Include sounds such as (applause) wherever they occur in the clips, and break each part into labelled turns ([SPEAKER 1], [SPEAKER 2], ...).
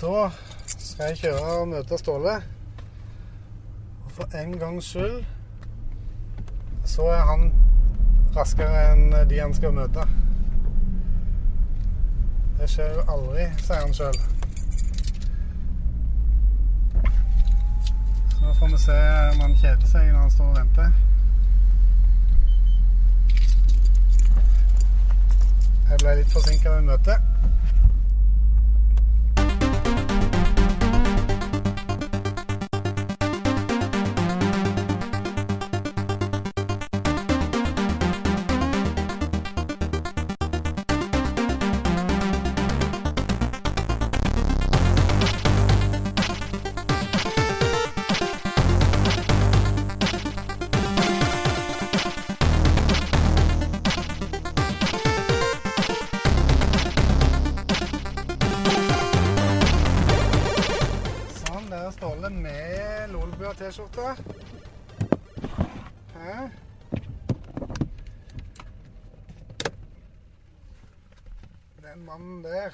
[SPEAKER 1] Da skal jeg kjøre og møte Ståle. Og for en gangs skyld så er han raskere enn de han skal møte. Det skjer jo aldri, sier han sjøl. Så nå får vi se om han kjeder seg når han står og venter. Jeg ble litt forsinka ved møtet. Sånn, der er Ståle med Lolebua T-skjorte. Hæ? Den mannen der.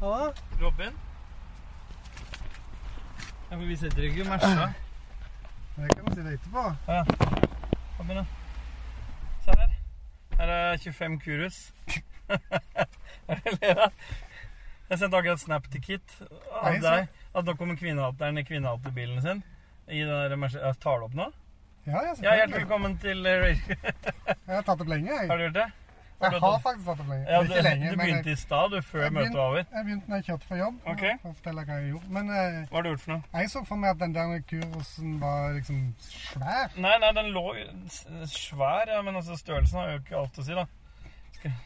[SPEAKER 1] Halla?
[SPEAKER 2] Robin? Ja, men vi setter ikke mersa.
[SPEAKER 1] Det kan vi si det etterpå.
[SPEAKER 2] Kom igjen, da. Se her. Her er 25 kurus. (laughs) Hva er det du ler av? Jeg sendte akkurat snap til Kit av
[SPEAKER 1] Nei, så-
[SPEAKER 2] deg at nå kommer kvinnehateren i kvinnehaterbilen sin. I den der Merce- Jeg Tar det opp nå?
[SPEAKER 1] Ja, ja,
[SPEAKER 2] Ja,
[SPEAKER 1] selvfølgelig.
[SPEAKER 2] hjertelig velkommen til eh, Rage.
[SPEAKER 1] Jeg har tatt opp lenge, jeg.
[SPEAKER 2] Har du gjort det?
[SPEAKER 1] Jeg har faktisk tatt opp lenge.
[SPEAKER 2] Ja, du,
[SPEAKER 1] Ikke lenge,
[SPEAKER 2] du
[SPEAKER 1] men jeg,
[SPEAKER 2] begynte i stad, du, før
[SPEAKER 1] Jeg
[SPEAKER 2] møtet var over.
[SPEAKER 1] jeg begynte når jeg kjørte for jobb.
[SPEAKER 2] Ok.
[SPEAKER 1] For å fortelle hva jeg gjorde. Men eh,
[SPEAKER 2] Hva har du gjort for noe?
[SPEAKER 1] jeg så for meg at den der kursen var liksom svær.
[SPEAKER 2] Nei, nei, den lå jo s- svær, ja, men altså størrelsen har jo ikke alt å si, da. Skal,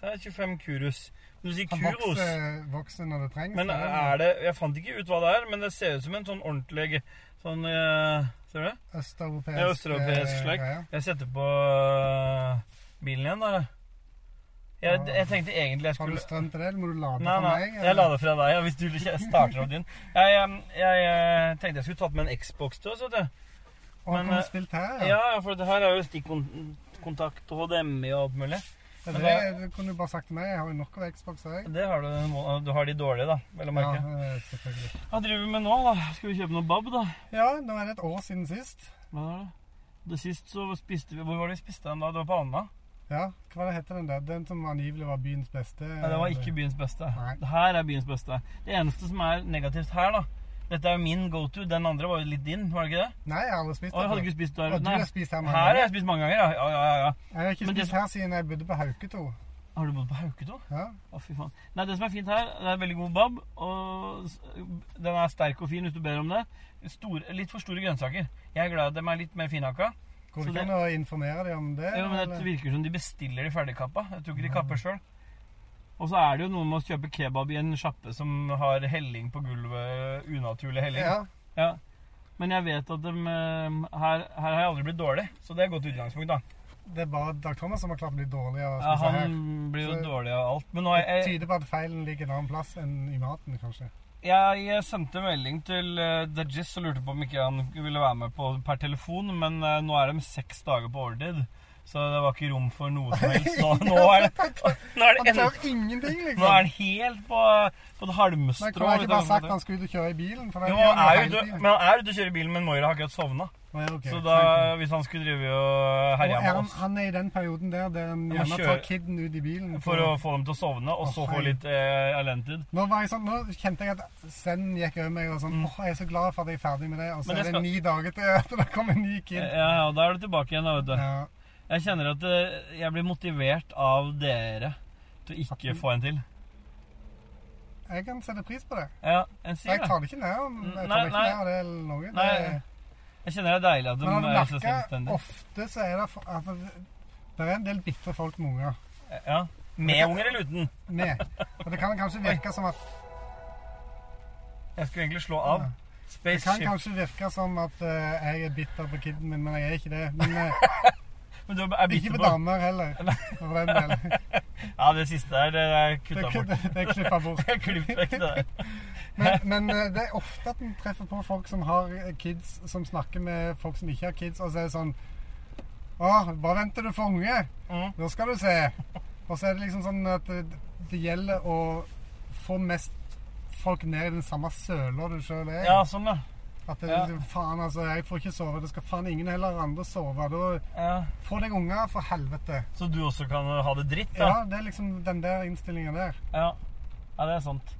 [SPEAKER 2] så er det 25 kurus. Du sier
[SPEAKER 1] Han
[SPEAKER 2] kuros,
[SPEAKER 1] vokser, vokser når det trengs.
[SPEAKER 2] men eh, er det Jeg fant ikke ut hva det er, men det ser ut som en sånn ordentlig sånn eh, Ser du det?
[SPEAKER 1] Østeuropeisk
[SPEAKER 2] Det er østeuropeisk
[SPEAKER 1] eh,
[SPEAKER 2] slekk.
[SPEAKER 1] greier.
[SPEAKER 2] Jeg setter på eh, bilen igjen, da. Jeg,
[SPEAKER 1] Ja.
[SPEAKER 2] jeg tenkte egentlig jeg
[SPEAKER 1] Har du
[SPEAKER 2] skulle
[SPEAKER 1] strøm til det, eller må du lade
[SPEAKER 2] Nei,
[SPEAKER 1] for
[SPEAKER 2] nei,
[SPEAKER 1] meg?
[SPEAKER 2] jeg la det fra deg, ja, hvis du ikke starter opp din. Jeg, jeg, jeg, eh, tenkte jeg skulle tatt med en Xbox til oss, vet du.
[SPEAKER 1] Og
[SPEAKER 2] men,
[SPEAKER 1] han kunne
[SPEAKER 2] eh,
[SPEAKER 1] spilt her, ja.
[SPEAKER 2] Ja, ja, for det her er jo stikkontakt og HDMI og alt mulig.
[SPEAKER 1] Det,
[SPEAKER 2] men
[SPEAKER 1] det, kunne du bare sagt til meg. Jeg har jo nok av Xbox, jeg.
[SPEAKER 2] Det har du, du har de dårlige, da. Vel å
[SPEAKER 1] Ja,
[SPEAKER 2] merke.
[SPEAKER 1] eh, selvfølgelig.
[SPEAKER 2] Hva driver vi med nå, da? Skal vi kjøpe noe bab, da?
[SPEAKER 1] Ja, nå er det et år siden sist.
[SPEAKER 2] Hva er det? Det sist så spiste vi Hvor var det vi spiste den da? Det var på Anna?
[SPEAKER 1] Ja, hva var det heter den der? Den som angivelig var byens beste?
[SPEAKER 2] Nei, det var ikke byens beste.
[SPEAKER 1] Nei.
[SPEAKER 2] Det her er byens beste. Det eneste som er negativt her, da Dette er jo min go to. Den andre var jo litt din, var det ikke det?
[SPEAKER 1] Nei, jeg har aldri spist
[SPEAKER 2] Og jeg hadde
[SPEAKER 1] før.
[SPEAKER 2] ikke spist der.
[SPEAKER 1] Og du
[SPEAKER 2] Nei.
[SPEAKER 1] har spist her mange
[SPEAKER 2] Her har
[SPEAKER 1] ganger.
[SPEAKER 2] jeg spist mange ganger, ja. ja, ja, ja, ja.
[SPEAKER 1] Jeg har ikke
[SPEAKER 2] Men det
[SPEAKER 1] spist her siden jeg bodde på Hauketo.
[SPEAKER 2] Har du bodd på Hauketo?
[SPEAKER 1] Ja.
[SPEAKER 2] Å, fy faen. Nei, det som er fint her, det er veldig god bab, og s- den er sterk og fin hvis du ber om det. Store, litt for store grønnsaker. Jeg er glad i at de er litt mer finhakka.
[SPEAKER 1] Går
[SPEAKER 2] Så
[SPEAKER 1] det ikke an å informere dem om det?
[SPEAKER 2] Jo, men det
[SPEAKER 1] eller?
[SPEAKER 2] virker som de bestiller de ferdigkappa. Jeg tror ikke de kapper sjøl. Og så er det jo noe med å kjøpe kebab i en sjappe som har helling på gulvet. Unaturlig helling.
[SPEAKER 1] ja.
[SPEAKER 2] Ja. Men jeg vet at dem, eh, her, her har jeg aldri blitt dårlig, så det er et godt utgangspunkt. da.
[SPEAKER 1] Det er bare Dag Thomas som har klart å bli dårlig av å
[SPEAKER 2] Ja,
[SPEAKER 1] spise
[SPEAKER 2] han blir jo
[SPEAKER 1] Så-
[SPEAKER 2] dårlig av alt. Men nå har
[SPEAKER 1] her. Det
[SPEAKER 2] jeg,
[SPEAKER 1] tyder på at feilen ligger en annen plass enn i maten, kanskje.
[SPEAKER 2] Jeg eh, sendte melding til eh, The Jizz og lurte på om ikke han ville være med på per telefon, men eh, nå er de seks dager på overtid, så det var ikke rom for noe som helst. Nå, nå er
[SPEAKER 1] (laughs)
[SPEAKER 2] det, nå er det
[SPEAKER 1] Han
[SPEAKER 2] en,
[SPEAKER 1] tør ingenting, liksom.
[SPEAKER 2] nå er han helt på, på det
[SPEAKER 1] Men
[SPEAKER 2] halmstrå.
[SPEAKER 1] kunne jeg
[SPEAKER 2] vet
[SPEAKER 1] ikke
[SPEAKER 2] du,
[SPEAKER 1] bare sagt
[SPEAKER 2] sånn
[SPEAKER 1] at han skulle ut og kjøre i bilen? For
[SPEAKER 2] at-
[SPEAKER 1] det
[SPEAKER 2] Jo,
[SPEAKER 1] gjør
[SPEAKER 2] han er
[SPEAKER 1] hele
[SPEAKER 2] ute,
[SPEAKER 1] tiden.
[SPEAKER 2] men han er ute og kjører bilen, men Moira har akkurat sovna.
[SPEAKER 1] Å, ja, ok.
[SPEAKER 2] Så
[SPEAKER 1] Thank
[SPEAKER 2] da,
[SPEAKER 1] you.
[SPEAKER 2] hvis han skulle drive og
[SPEAKER 1] Og
[SPEAKER 2] herje
[SPEAKER 1] er
[SPEAKER 2] med
[SPEAKER 1] han,
[SPEAKER 2] oss
[SPEAKER 1] han er i den perioden der der han
[SPEAKER 2] må
[SPEAKER 1] gjerne
[SPEAKER 2] kjøre-
[SPEAKER 1] tar kiden ut i bilen.
[SPEAKER 2] for å få dem til å sovne, og
[SPEAKER 1] Å,
[SPEAKER 2] så få
[SPEAKER 1] feil.
[SPEAKER 2] litt eh, alentid
[SPEAKER 1] Nå, var jeg sånn, nå kjente jeg at senden gikk over meg og sånn, åh, jeg er så glad for at jeg er ferdig med det, og så
[SPEAKER 2] Mm. Men det
[SPEAKER 1] er det
[SPEAKER 2] skal-
[SPEAKER 1] ni dager til (laughs) at det kommer en ny kid.
[SPEAKER 2] Eh, Ja, og da er du tilbake igjen, da, vet du.
[SPEAKER 1] Ja.
[SPEAKER 2] Jeg kjenner at eh, jeg blir motivert av dere til å ikke få en til.
[SPEAKER 1] Jeg kan sette pris på det.
[SPEAKER 2] Ja, en sier
[SPEAKER 1] Jeg
[SPEAKER 2] det.
[SPEAKER 1] tar det ikke ned om jeg tar
[SPEAKER 2] Nei,
[SPEAKER 1] det ikke
[SPEAKER 2] nei.
[SPEAKER 1] ned av det eller noe.
[SPEAKER 2] Nei,
[SPEAKER 1] det,
[SPEAKER 2] Jeg kjenner det er deilig at de
[SPEAKER 1] men har du
[SPEAKER 2] er så
[SPEAKER 1] merket,
[SPEAKER 2] selvstendige.
[SPEAKER 1] ofte så er det for, at det, det er en del bitre folk med unger.
[SPEAKER 2] Eh, Ja. Med unger eller uten?
[SPEAKER 1] Med. Og det kan kanskje virke som at,
[SPEAKER 2] Jeg skulle egentlig slå av.
[SPEAKER 1] Ja. det kan
[SPEAKER 2] Spaceship.
[SPEAKER 1] kanskje virke som at eh, jeg er bitter på kiden min, men jeg er ikke
[SPEAKER 2] (laughs)
[SPEAKER 1] det. Men eh,
[SPEAKER 2] Men du er
[SPEAKER 1] ikke
[SPEAKER 2] bitter
[SPEAKER 1] på
[SPEAKER 2] på
[SPEAKER 1] damer heller, for den
[SPEAKER 2] (laughs)
[SPEAKER 1] del.
[SPEAKER 2] Ja, det siste der, det er
[SPEAKER 1] Det
[SPEAKER 2] kutta
[SPEAKER 1] er,
[SPEAKER 2] bort.
[SPEAKER 1] det er klippet bort.
[SPEAKER 2] Jeg klippet vekk det der.
[SPEAKER 1] Men, men eh, det er ofte at en treffer på folk som har eh, kids, som snakker med folk som ikke har kids, og så er det sånn Å, bare venter du for unge?
[SPEAKER 2] Mm.
[SPEAKER 1] Da skal du se. Og så er det liksom sånn at det, det gjelder å få mest folk ned i den samme søla du sjøl er. i.
[SPEAKER 2] Ja, sånn, ja.
[SPEAKER 1] At det,
[SPEAKER 2] ja.
[SPEAKER 1] det- faen, altså, jeg får ikke sove. Det skal faen ingen heller andre sove. Da,
[SPEAKER 2] ja.
[SPEAKER 1] få deg unger, for helvete.
[SPEAKER 2] Så du også kan ha det dritt, da?
[SPEAKER 1] Ja, det er liksom den der innstillinga der.
[SPEAKER 2] Ja, ja det er sant.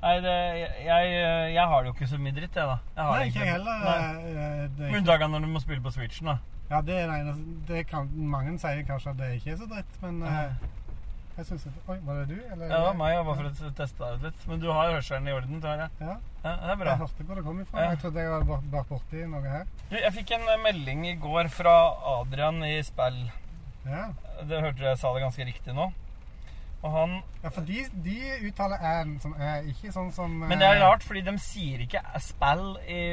[SPEAKER 2] Nei, det, jeg, jeg har det jo ikke så mye dritt, jeg, da. Jeg har
[SPEAKER 1] Nei,
[SPEAKER 2] det
[SPEAKER 1] ikke jeg heller.
[SPEAKER 2] Nei.
[SPEAKER 1] eh, Det,
[SPEAKER 2] Med unntak av når du må spille på Switchen, da.
[SPEAKER 1] ja, det er det eneste det kan, Mange sier kanskje at det ikke er så dritt, men eh, jeg syns Oi, var det du? Eller,
[SPEAKER 2] Ja, det var meg, jeg, bare for å teste deg ut litt. Men du har hørselen i orden, tror jeg.
[SPEAKER 1] Ja,
[SPEAKER 2] Ja, det er bra.
[SPEAKER 1] jeg hørte hvor det kom ifra.
[SPEAKER 2] Ja.
[SPEAKER 1] Jeg trodde jeg var bak- bak borti noe her.
[SPEAKER 2] Du, jeg fikk en eh, melding i går fra Adrian i Spell.
[SPEAKER 1] Ja,
[SPEAKER 2] Det hørte du jeg sa det ganske riktig nå. Og han
[SPEAKER 1] ja for de, de uttaler æ-en som æ, ikke sånn som
[SPEAKER 2] Men det er rart, fordi de sier ikke spell i,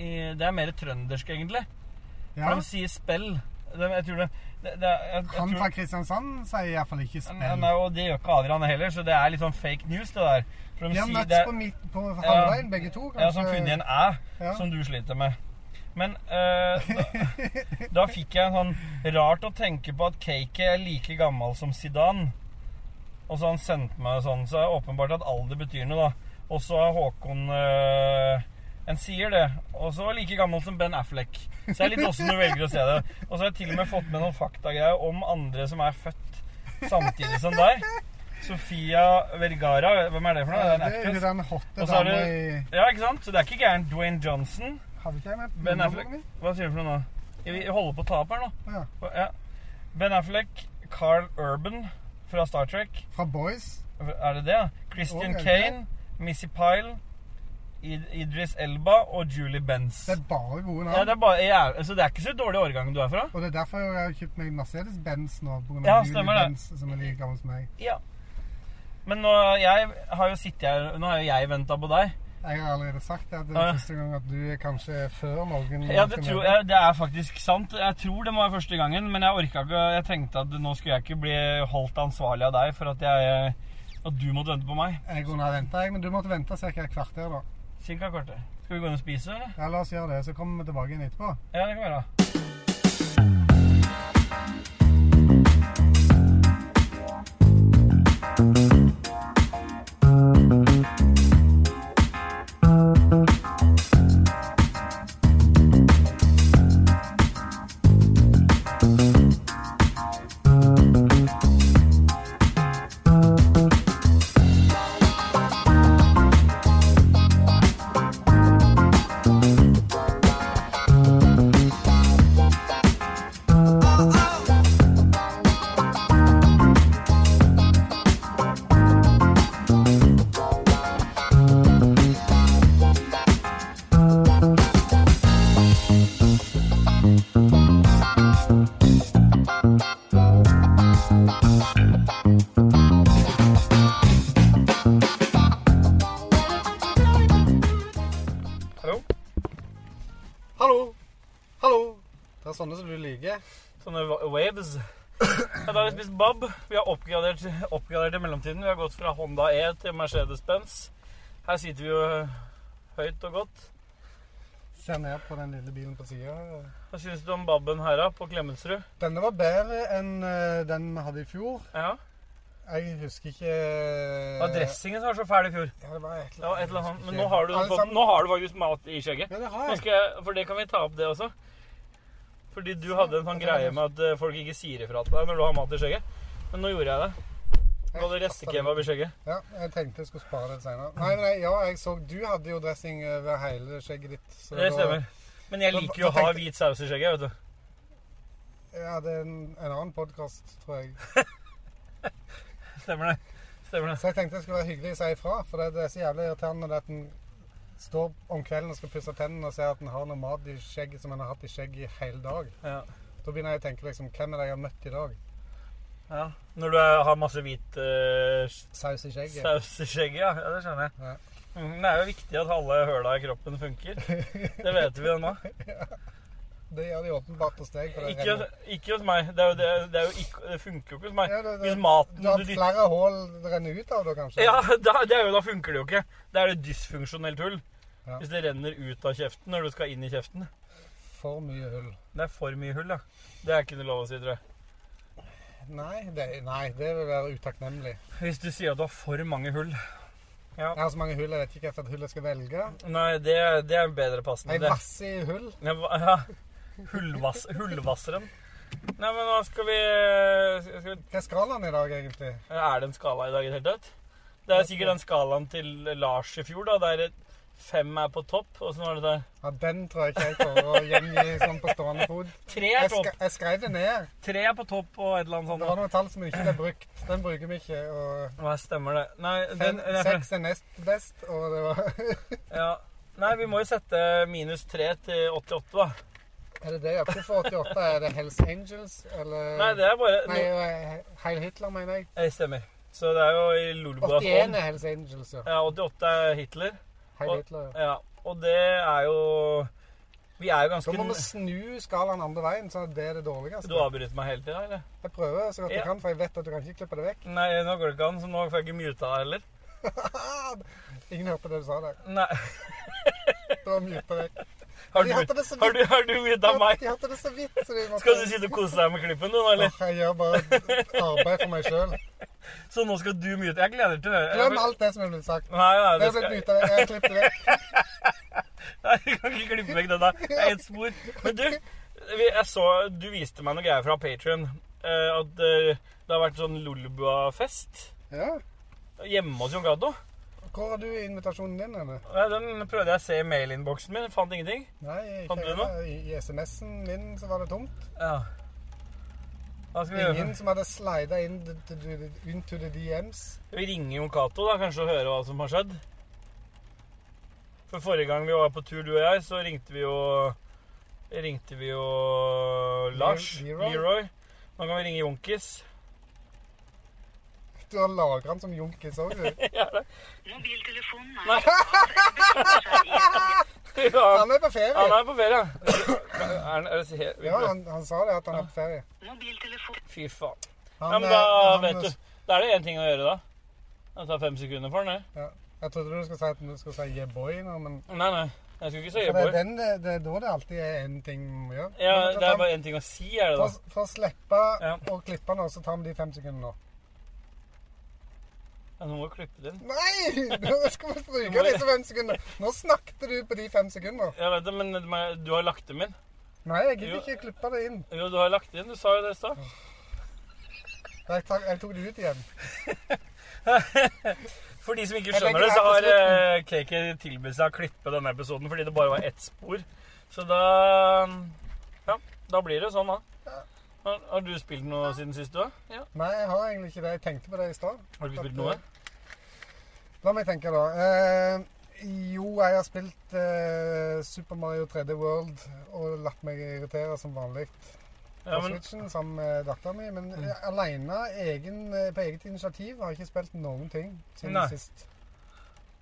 [SPEAKER 2] i Det er mer trøndersk, egentlig.
[SPEAKER 1] Ja,
[SPEAKER 2] For de sier spell. De, jeg tror det, det, det er- jeg, jeg
[SPEAKER 1] han
[SPEAKER 2] tror,
[SPEAKER 1] fra Kristiansand sier iallfall ikke
[SPEAKER 2] Nei,
[SPEAKER 1] spill.
[SPEAKER 2] Nei, og det gjør ikke Adrian heller, så det er litt sånn fake news, det der. For
[SPEAKER 1] De har
[SPEAKER 2] sier-
[SPEAKER 1] møtts
[SPEAKER 2] det er-
[SPEAKER 1] på, midt, på
[SPEAKER 2] Ja.
[SPEAKER 1] halvveien, begge to.
[SPEAKER 2] Ja, som funnet en æ,
[SPEAKER 1] Ja.
[SPEAKER 2] som du sliter med. Men eh, da, da fikk jeg en sånn Rart å tenke på at Cake er like gammel som Zidane. Og så han sendte meg sånn, så er det åpenbart at alder betyr noe, da. Og så er Håkon eh, En sier det. Og så like gammel som Ben Affleck. Så det er litt åssen du velger å se det. Og så har jeg til og med fått med noen faktagreier om andre som er født samtidig som deg. Sofia Vergara, hvem er det for noe?
[SPEAKER 1] Ja, det
[SPEAKER 2] Det er en
[SPEAKER 1] er jo
[SPEAKER 2] actress.
[SPEAKER 1] den hotte
[SPEAKER 2] Og så er
[SPEAKER 1] dama i
[SPEAKER 2] Ja, ikke sant? Så det er ikke gærent. Dwayne Johnson.
[SPEAKER 1] Hadde ikke jeg med
[SPEAKER 2] Ben
[SPEAKER 1] nummerboka
[SPEAKER 2] Affleck.
[SPEAKER 1] mi?
[SPEAKER 2] Hva sier du for noe nå? Vi holder på å ta opp her nå.
[SPEAKER 1] Ja.
[SPEAKER 2] Hva- Ja. Ben Affleck, Carl Urban fra Star Trek.
[SPEAKER 1] Fra Boys.
[SPEAKER 2] Er det det? ja? Christian
[SPEAKER 1] Å, er det
[SPEAKER 2] Kane, Missy Pyle, Id Idris Elba og Julie Benz.
[SPEAKER 1] Det er bare gode navn.
[SPEAKER 2] Ja, det er bare, jeg er, altså, det er ikke så dårlig årgang du er fra.
[SPEAKER 1] Og det er derfor jeg har kjøpt meg Mercedes-Benz nå. På grunn av
[SPEAKER 2] Ja,
[SPEAKER 1] Julie
[SPEAKER 2] stemmer det.
[SPEAKER 1] Benz, som er like gammel som meg.
[SPEAKER 2] Ja. Men nå, jeg har jo sittet her, nå har jo jeg venta på deg.
[SPEAKER 1] Jeg har allerede sagt det, at det
[SPEAKER 2] Ja,
[SPEAKER 1] er
[SPEAKER 2] ja.
[SPEAKER 1] første gang at du er kanskje før noen.
[SPEAKER 2] Ja, det, tror, jeg, det er faktisk sant. Jeg tror det må være første gangen, men jeg orka ikke Jeg tenkte at nå skulle jeg ikke bli holdt ansvarlig av deg for at, jeg, at du måtte vente på meg.
[SPEAKER 1] Jeg kunne ha ventet, jeg, men du måtte vente ca. et kvarter. da.
[SPEAKER 2] Cirka et kvarter. Skal vi gå inn og spise, eller?
[SPEAKER 1] Ja, La oss gjøre det, så kommer vi tilbake igjen etterpå.
[SPEAKER 2] Ja, det kan vi gjøre. Hallo?
[SPEAKER 1] Hallo! Hallo! Det er sånne som du liker.
[SPEAKER 2] Sånne wa- waves. Ja, da har vi spist bob. Vi har oppgradert, oppgradert i mellomtiden. Vi har gått fra Honda E til Mercedes-Benz. Her sitter vi jo høyt og godt.
[SPEAKER 1] Ser ned på den lille bilen på sida.
[SPEAKER 2] Hva syns du om babben her, da? På Klemetsrud?
[SPEAKER 1] Denne var bedre enn eh, den vi hadde i fjor.
[SPEAKER 2] Ja.
[SPEAKER 1] Jeg husker ikke eh,
[SPEAKER 2] Det var dressingen som var så fæl i fjor.
[SPEAKER 1] Ja, det var et
[SPEAKER 2] Det var et eller annet.
[SPEAKER 1] jeg husker
[SPEAKER 2] Men
[SPEAKER 1] ikke.
[SPEAKER 2] nå har du,
[SPEAKER 1] Alle
[SPEAKER 2] fått,
[SPEAKER 1] sammen-
[SPEAKER 2] nå har du faktisk mat i skjegget.
[SPEAKER 1] Ja, det har
[SPEAKER 2] Nå
[SPEAKER 1] jeg.
[SPEAKER 2] skal jeg, for det kan vi ta opp, det også. Fordi du hadde en sånn greie med at eh, folk ikke sier ifra til deg når du har mat i skjegget. Men nå gjorde jeg det. Du hadde restekebab i skjegget.
[SPEAKER 1] Ja, jeg tenkte jeg skulle spare det senere. Nei, nei, ja, jeg så Du hadde jo dressing over hele skjegget ditt. så
[SPEAKER 2] Det
[SPEAKER 1] da-
[SPEAKER 2] stemmer. Men jeg liker jo å ha hvit saus i skjegget, vet du. (laughs)
[SPEAKER 1] Ja, det er en, en annen podkast, tror jeg.
[SPEAKER 2] Stemmer det. Stemmer det.
[SPEAKER 1] Så jeg tenkte jeg skulle være hyggelig og si ifra, for det, det er så jævlig irriterende det at en står om kvelden og skal pusse tennene og ser at en har noe mat i skjegget som en har hatt i skjegget i hele dag.
[SPEAKER 2] Ja.
[SPEAKER 1] Da begynner jeg å tenke liksom Hvem er det jeg har møtt i dag?
[SPEAKER 2] ja. Når du er- har masse hvit eh,
[SPEAKER 1] Saus i skjegget.
[SPEAKER 2] saus i skjegget, ja. ja. Det skjønner
[SPEAKER 1] Ja.
[SPEAKER 2] jeg. Mm, Det er jo viktig at alle høla i kroppen funker. Det vet vi jo nå.
[SPEAKER 1] Det gjør de åpenbart hos deg. (laughs) for det
[SPEAKER 2] Ikke,
[SPEAKER 1] renner-
[SPEAKER 2] ikke hos meg. Det, er jo, det, det, er jo ikke, det funker jo ikke hos meg.
[SPEAKER 1] Ja, det- det-
[SPEAKER 2] Hvis maten
[SPEAKER 1] Du har
[SPEAKER 2] du
[SPEAKER 1] hatt
[SPEAKER 2] dytter
[SPEAKER 1] flere hull det renner ut av, da kanskje?
[SPEAKER 2] Ja, (laughs) da, det er jo, da funker det jo ikke. Da er det dysfunksjonelt hull.
[SPEAKER 1] Ja.
[SPEAKER 2] Hvis det renner ut av kjeften når du skal inn i kjeften.
[SPEAKER 1] For mye hull.
[SPEAKER 2] Det er for mye hull, da. Det er ikke noe lov å si, tror jeg.
[SPEAKER 1] Nei det, nei, det vil være utakknemlig.
[SPEAKER 2] Hvis du sier at du har for mange hull Ja.
[SPEAKER 1] Jeg har så mange hull, jeg vet ikke hvilket hull jeg skal velge.
[SPEAKER 2] Nei, det, det er bedre passende.
[SPEAKER 1] Ei
[SPEAKER 2] Det.
[SPEAKER 1] masse i hull.
[SPEAKER 2] Ja, hva- ja. Hullvass, hullvasseren. Nei, men hva skal vi, skal vi
[SPEAKER 1] Hva er skalaen i dag, egentlig?
[SPEAKER 2] Er det en skala i dag i det hele tatt? Det er sikkert den skalaen til Lars i fjor, da. Der fem er på topp, og så nå er det der
[SPEAKER 1] Ja, Den tror jeg ikke jeg klarer å gjengi sånn på stående
[SPEAKER 2] (laughs)
[SPEAKER 1] fot.
[SPEAKER 2] Tre er
[SPEAKER 1] Jeg,
[SPEAKER 2] topp.
[SPEAKER 1] sk jeg skrev det ned.
[SPEAKER 2] Tre er på topp og et eller annet
[SPEAKER 1] Det
[SPEAKER 2] sånt.
[SPEAKER 1] var noen tall som ikke ble brukt. Den bruker vi ikke. Og
[SPEAKER 2] Nei, stemmer det. Nei, den,
[SPEAKER 1] fem,
[SPEAKER 2] den er,
[SPEAKER 1] seks er nest best, og det var (laughs)
[SPEAKER 2] ja. Nei, vi må jo sette minus 3 til 88, da.
[SPEAKER 1] Er det det? Ja, Hvorfor 88? Er det Hells Angels, eller
[SPEAKER 2] Nei, det er bare
[SPEAKER 1] Nei, eh, Heil Hitler, mener jeg.
[SPEAKER 2] Det stemmer. Så det er jo i Lulboas
[SPEAKER 1] 81
[SPEAKER 2] ånd.
[SPEAKER 1] er Hells Angels, ja.
[SPEAKER 2] Ja, 88 er Hitler.
[SPEAKER 1] Heil
[SPEAKER 2] sånn. Og-
[SPEAKER 1] Hitler, ja.
[SPEAKER 2] Ja, og det er jo Vi er jo
[SPEAKER 1] Da
[SPEAKER 2] ganske
[SPEAKER 1] må vi snu skalaen andre veien, sånn at det er det
[SPEAKER 2] Du
[SPEAKER 1] dårligste.
[SPEAKER 2] avbryter meg hele tida, eller?
[SPEAKER 1] Jeg prøver så godt jeg
[SPEAKER 2] Ja.
[SPEAKER 1] kan, for jeg vet at du kan ikke klippe det vekk.
[SPEAKER 2] Nei, nå går det ikke an, så nå får jeg ikke muta deg heller.
[SPEAKER 1] Ingen hørte det du sa der.
[SPEAKER 2] Nei.
[SPEAKER 1] Det var muta vekk.
[SPEAKER 2] Har
[SPEAKER 1] De
[SPEAKER 2] du,
[SPEAKER 1] hørte det så
[SPEAKER 2] har
[SPEAKER 1] vidt.
[SPEAKER 2] du, har du muta meg?
[SPEAKER 1] De hørte det så vidt, så de måtte
[SPEAKER 2] Skal du sitte og kose deg med klippen, du nå, eller?
[SPEAKER 1] Åh, Jeg gjør bare arbeid for meg sjøl.
[SPEAKER 2] Så nå skal du mute Jeg gleder til å høre.
[SPEAKER 1] Glem alt det som er blitt sagt.
[SPEAKER 2] Nei, nei,
[SPEAKER 1] Jeg
[SPEAKER 2] det
[SPEAKER 1] har blitt
[SPEAKER 2] skal
[SPEAKER 1] muta. Jeg har klippet vekk.
[SPEAKER 2] (laughs) Nei, du kan ikke klippe vekk den der. Det er ett spor. Men du, vi- jeg så, du viste meg noen greier fra Patrion. at eh, det har vært sånn Lolbua-fest
[SPEAKER 1] Ja.
[SPEAKER 2] hjemme hos Jon Gaddo.
[SPEAKER 1] Hvor har du invitasjonen din henne?
[SPEAKER 2] Nei, Den prøvde jeg å se i mailinnboksen min, fant ingenting.
[SPEAKER 1] Nei, ikke
[SPEAKER 2] Fant du noe?
[SPEAKER 1] I, i SMS-en min så var det tomt.
[SPEAKER 2] Ja. Hva skal vi
[SPEAKER 1] Ingen
[SPEAKER 2] gjøre?
[SPEAKER 1] som hadde slida inn d- d- d- into the DMs.
[SPEAKER 2] Vi ringer Jon Cato, da, kanskje, og hører hva som har skjedd. For forrige gang vi var på tur, du og jeg, så ringte vi jo Ringte vi jo Lars.
[SPEAKER 1] Leroy.
[SPEAKER 2] Leroy. Nå kan vi ringe (laughs) Jonkis.
[SPEAKER 1] Du har lagra den som junkis òg, du.
[SPEAKER 2] (laughs)
[SPEAKER 3] Mobiltelefonen er
[SPEAKER 2] Nei.
[SPEAKER 1] Han er på
[SPEAKER 2] Han
[SPEAKER 1] ferie.
[SPEAKER 2] er på ferie. Er han, er det he- vi-
[SPEAKER 1] Ja, han, han sa det, at han er på ferie.
[SPEAKER 3] Mobiltelefon
[SPEAKER 2] Fy faen.
[SPEAKER 1] Han,
[SPEAKER 2] Ja, men
[SPEAKER 1] eh,
[SPEAKER 2] da
[SPEAKER 1] han-
[SPEAKER 2] vet du. Da er det én ting å gjøre, da. Det tar fem sekunder for den, det.
[SPEAKER 1] Jeg trodde du skulle si at du skulle si yeah boy nå, men
[SPEAKER 2] Nei, nei. Jeg skulle ikke si
[SPEAKER 1] for det, er
[SPEAKER 2] Øyborg.
[SPEAKER 1] den, det, det er da det alltid er én ting vi må gjøre.
[SPEAKER 2] Ja,
[SPEAKER 1] Men
[SPEAKER 2] det er bare én ting å si, er det da.
[SPEAKER 1] For, for å slippe
[SPEAKER 2] Ja.
[SPEAKER 1] å klippe nå, så tar vi de fem
[SPEAKER 2] (laughs)
[SPEAKER 1] sekundene nå.
[SPEAKER 2] Ja, nå må du klippe det inn.
[SPEAKER 1] Nei! Nå skal vi stryke disse fem sekundene. Nå snakket du på de fem sekundene.
[SPEAKER 2] Jeg vet det, men det må jeg- du har lagt dem inn.
[SPEAKER 1] Nei, jeg gidder ikke klippe det inn.
[SPEAKER 2] Jo, du har lagt det inn. Du sa jo det i stad.
[SPEAKER 1] Jeg tok, jeg tok det ut igjen.
[SPEAKER 2] For de som ikke
[SPEAKER 1] Jeg
[SPEAKER 2] skjønner
[SPEAKER 1] legger
[SPEAKER 2] det, så har
[SPEAKER 1] det her
[SPEAKER 2] eh, KK tilbudt seg å klippe denne episoden fordi det bare var ett spor. Så da mm, Ja, da blir det jo sånn, da. Har, har du spilt noe siden sist, du? da? Ja.
[SPEAKER 1] Nei, jeg har egentlig ikke det. Jeg tenkte på det i stad.
[SPEAKER 2] Har du ikke spilt noe?
[SPEAKER 1] La meg tenke, da. Eh, jo, jeg har spilt eh, Super Mario 3D World og latt meg irritere som vanlig på
[SPEAKER 2] Ja, men
[SPEAKER 1] Switchen sammen med dattera mi. Men mm. aleine, på eget initiativ, har jeg ikke spilt noen ting siden
[SPEAKER 2] Nei.
[SPEAKER 1] sist.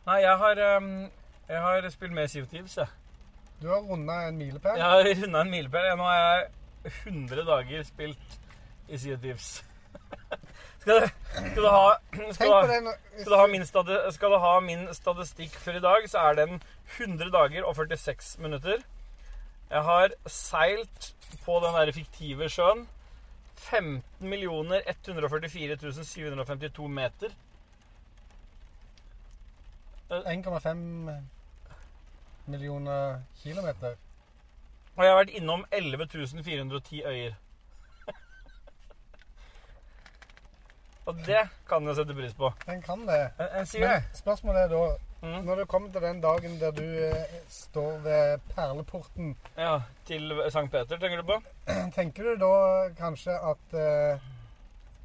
[SPEAKER 2] Nei, jeg har, ehm, jeg har spilt mer Sea of Thieves, jeg.
[SPEAKER 1] Du har runda en milepæl.
[SPEAKER 2] Jeg har runda en milepæl. jeg. Nå har jeg 100 dager spilt i Sea of Thieves. (laughs) skal, du, skal du ha skal
[SPEAKER 1] Tenk
[SPEAKER 2] du
[SPEAKER 1] på
[SPEAKER 2] ha,
[SPEAKER 1] det når, hvis,
[SPEAKER 2] skal du ha, min, stati, skal du ha min statistikk for i dag, så er den 100 dager og 46 minutter. Jeg har seilt på den der fiktive sjøen 15 144 752 meter.
[SPEAKER 1] 1,5 millioner kilometer.
[SPEAKER 2] Og jeg har vært innom 11.410 øyer. (laughs) Og det kan jeg sette pris på.
[SPEAKER 1] Den kan det.
[SPEAKER 2] En, en sier det.
[SPEAKER 1] Men spørsmålet er da
[SPEAKER 2] Mm.
[SPEAKER 1] Når du kommer til den dagen der du eh, står ved perleporten,
[SPEAKER 2] Ja, Til Sankt Peter, tenker du på?
[SPEAKER 1] tenker du da kanskje at eh,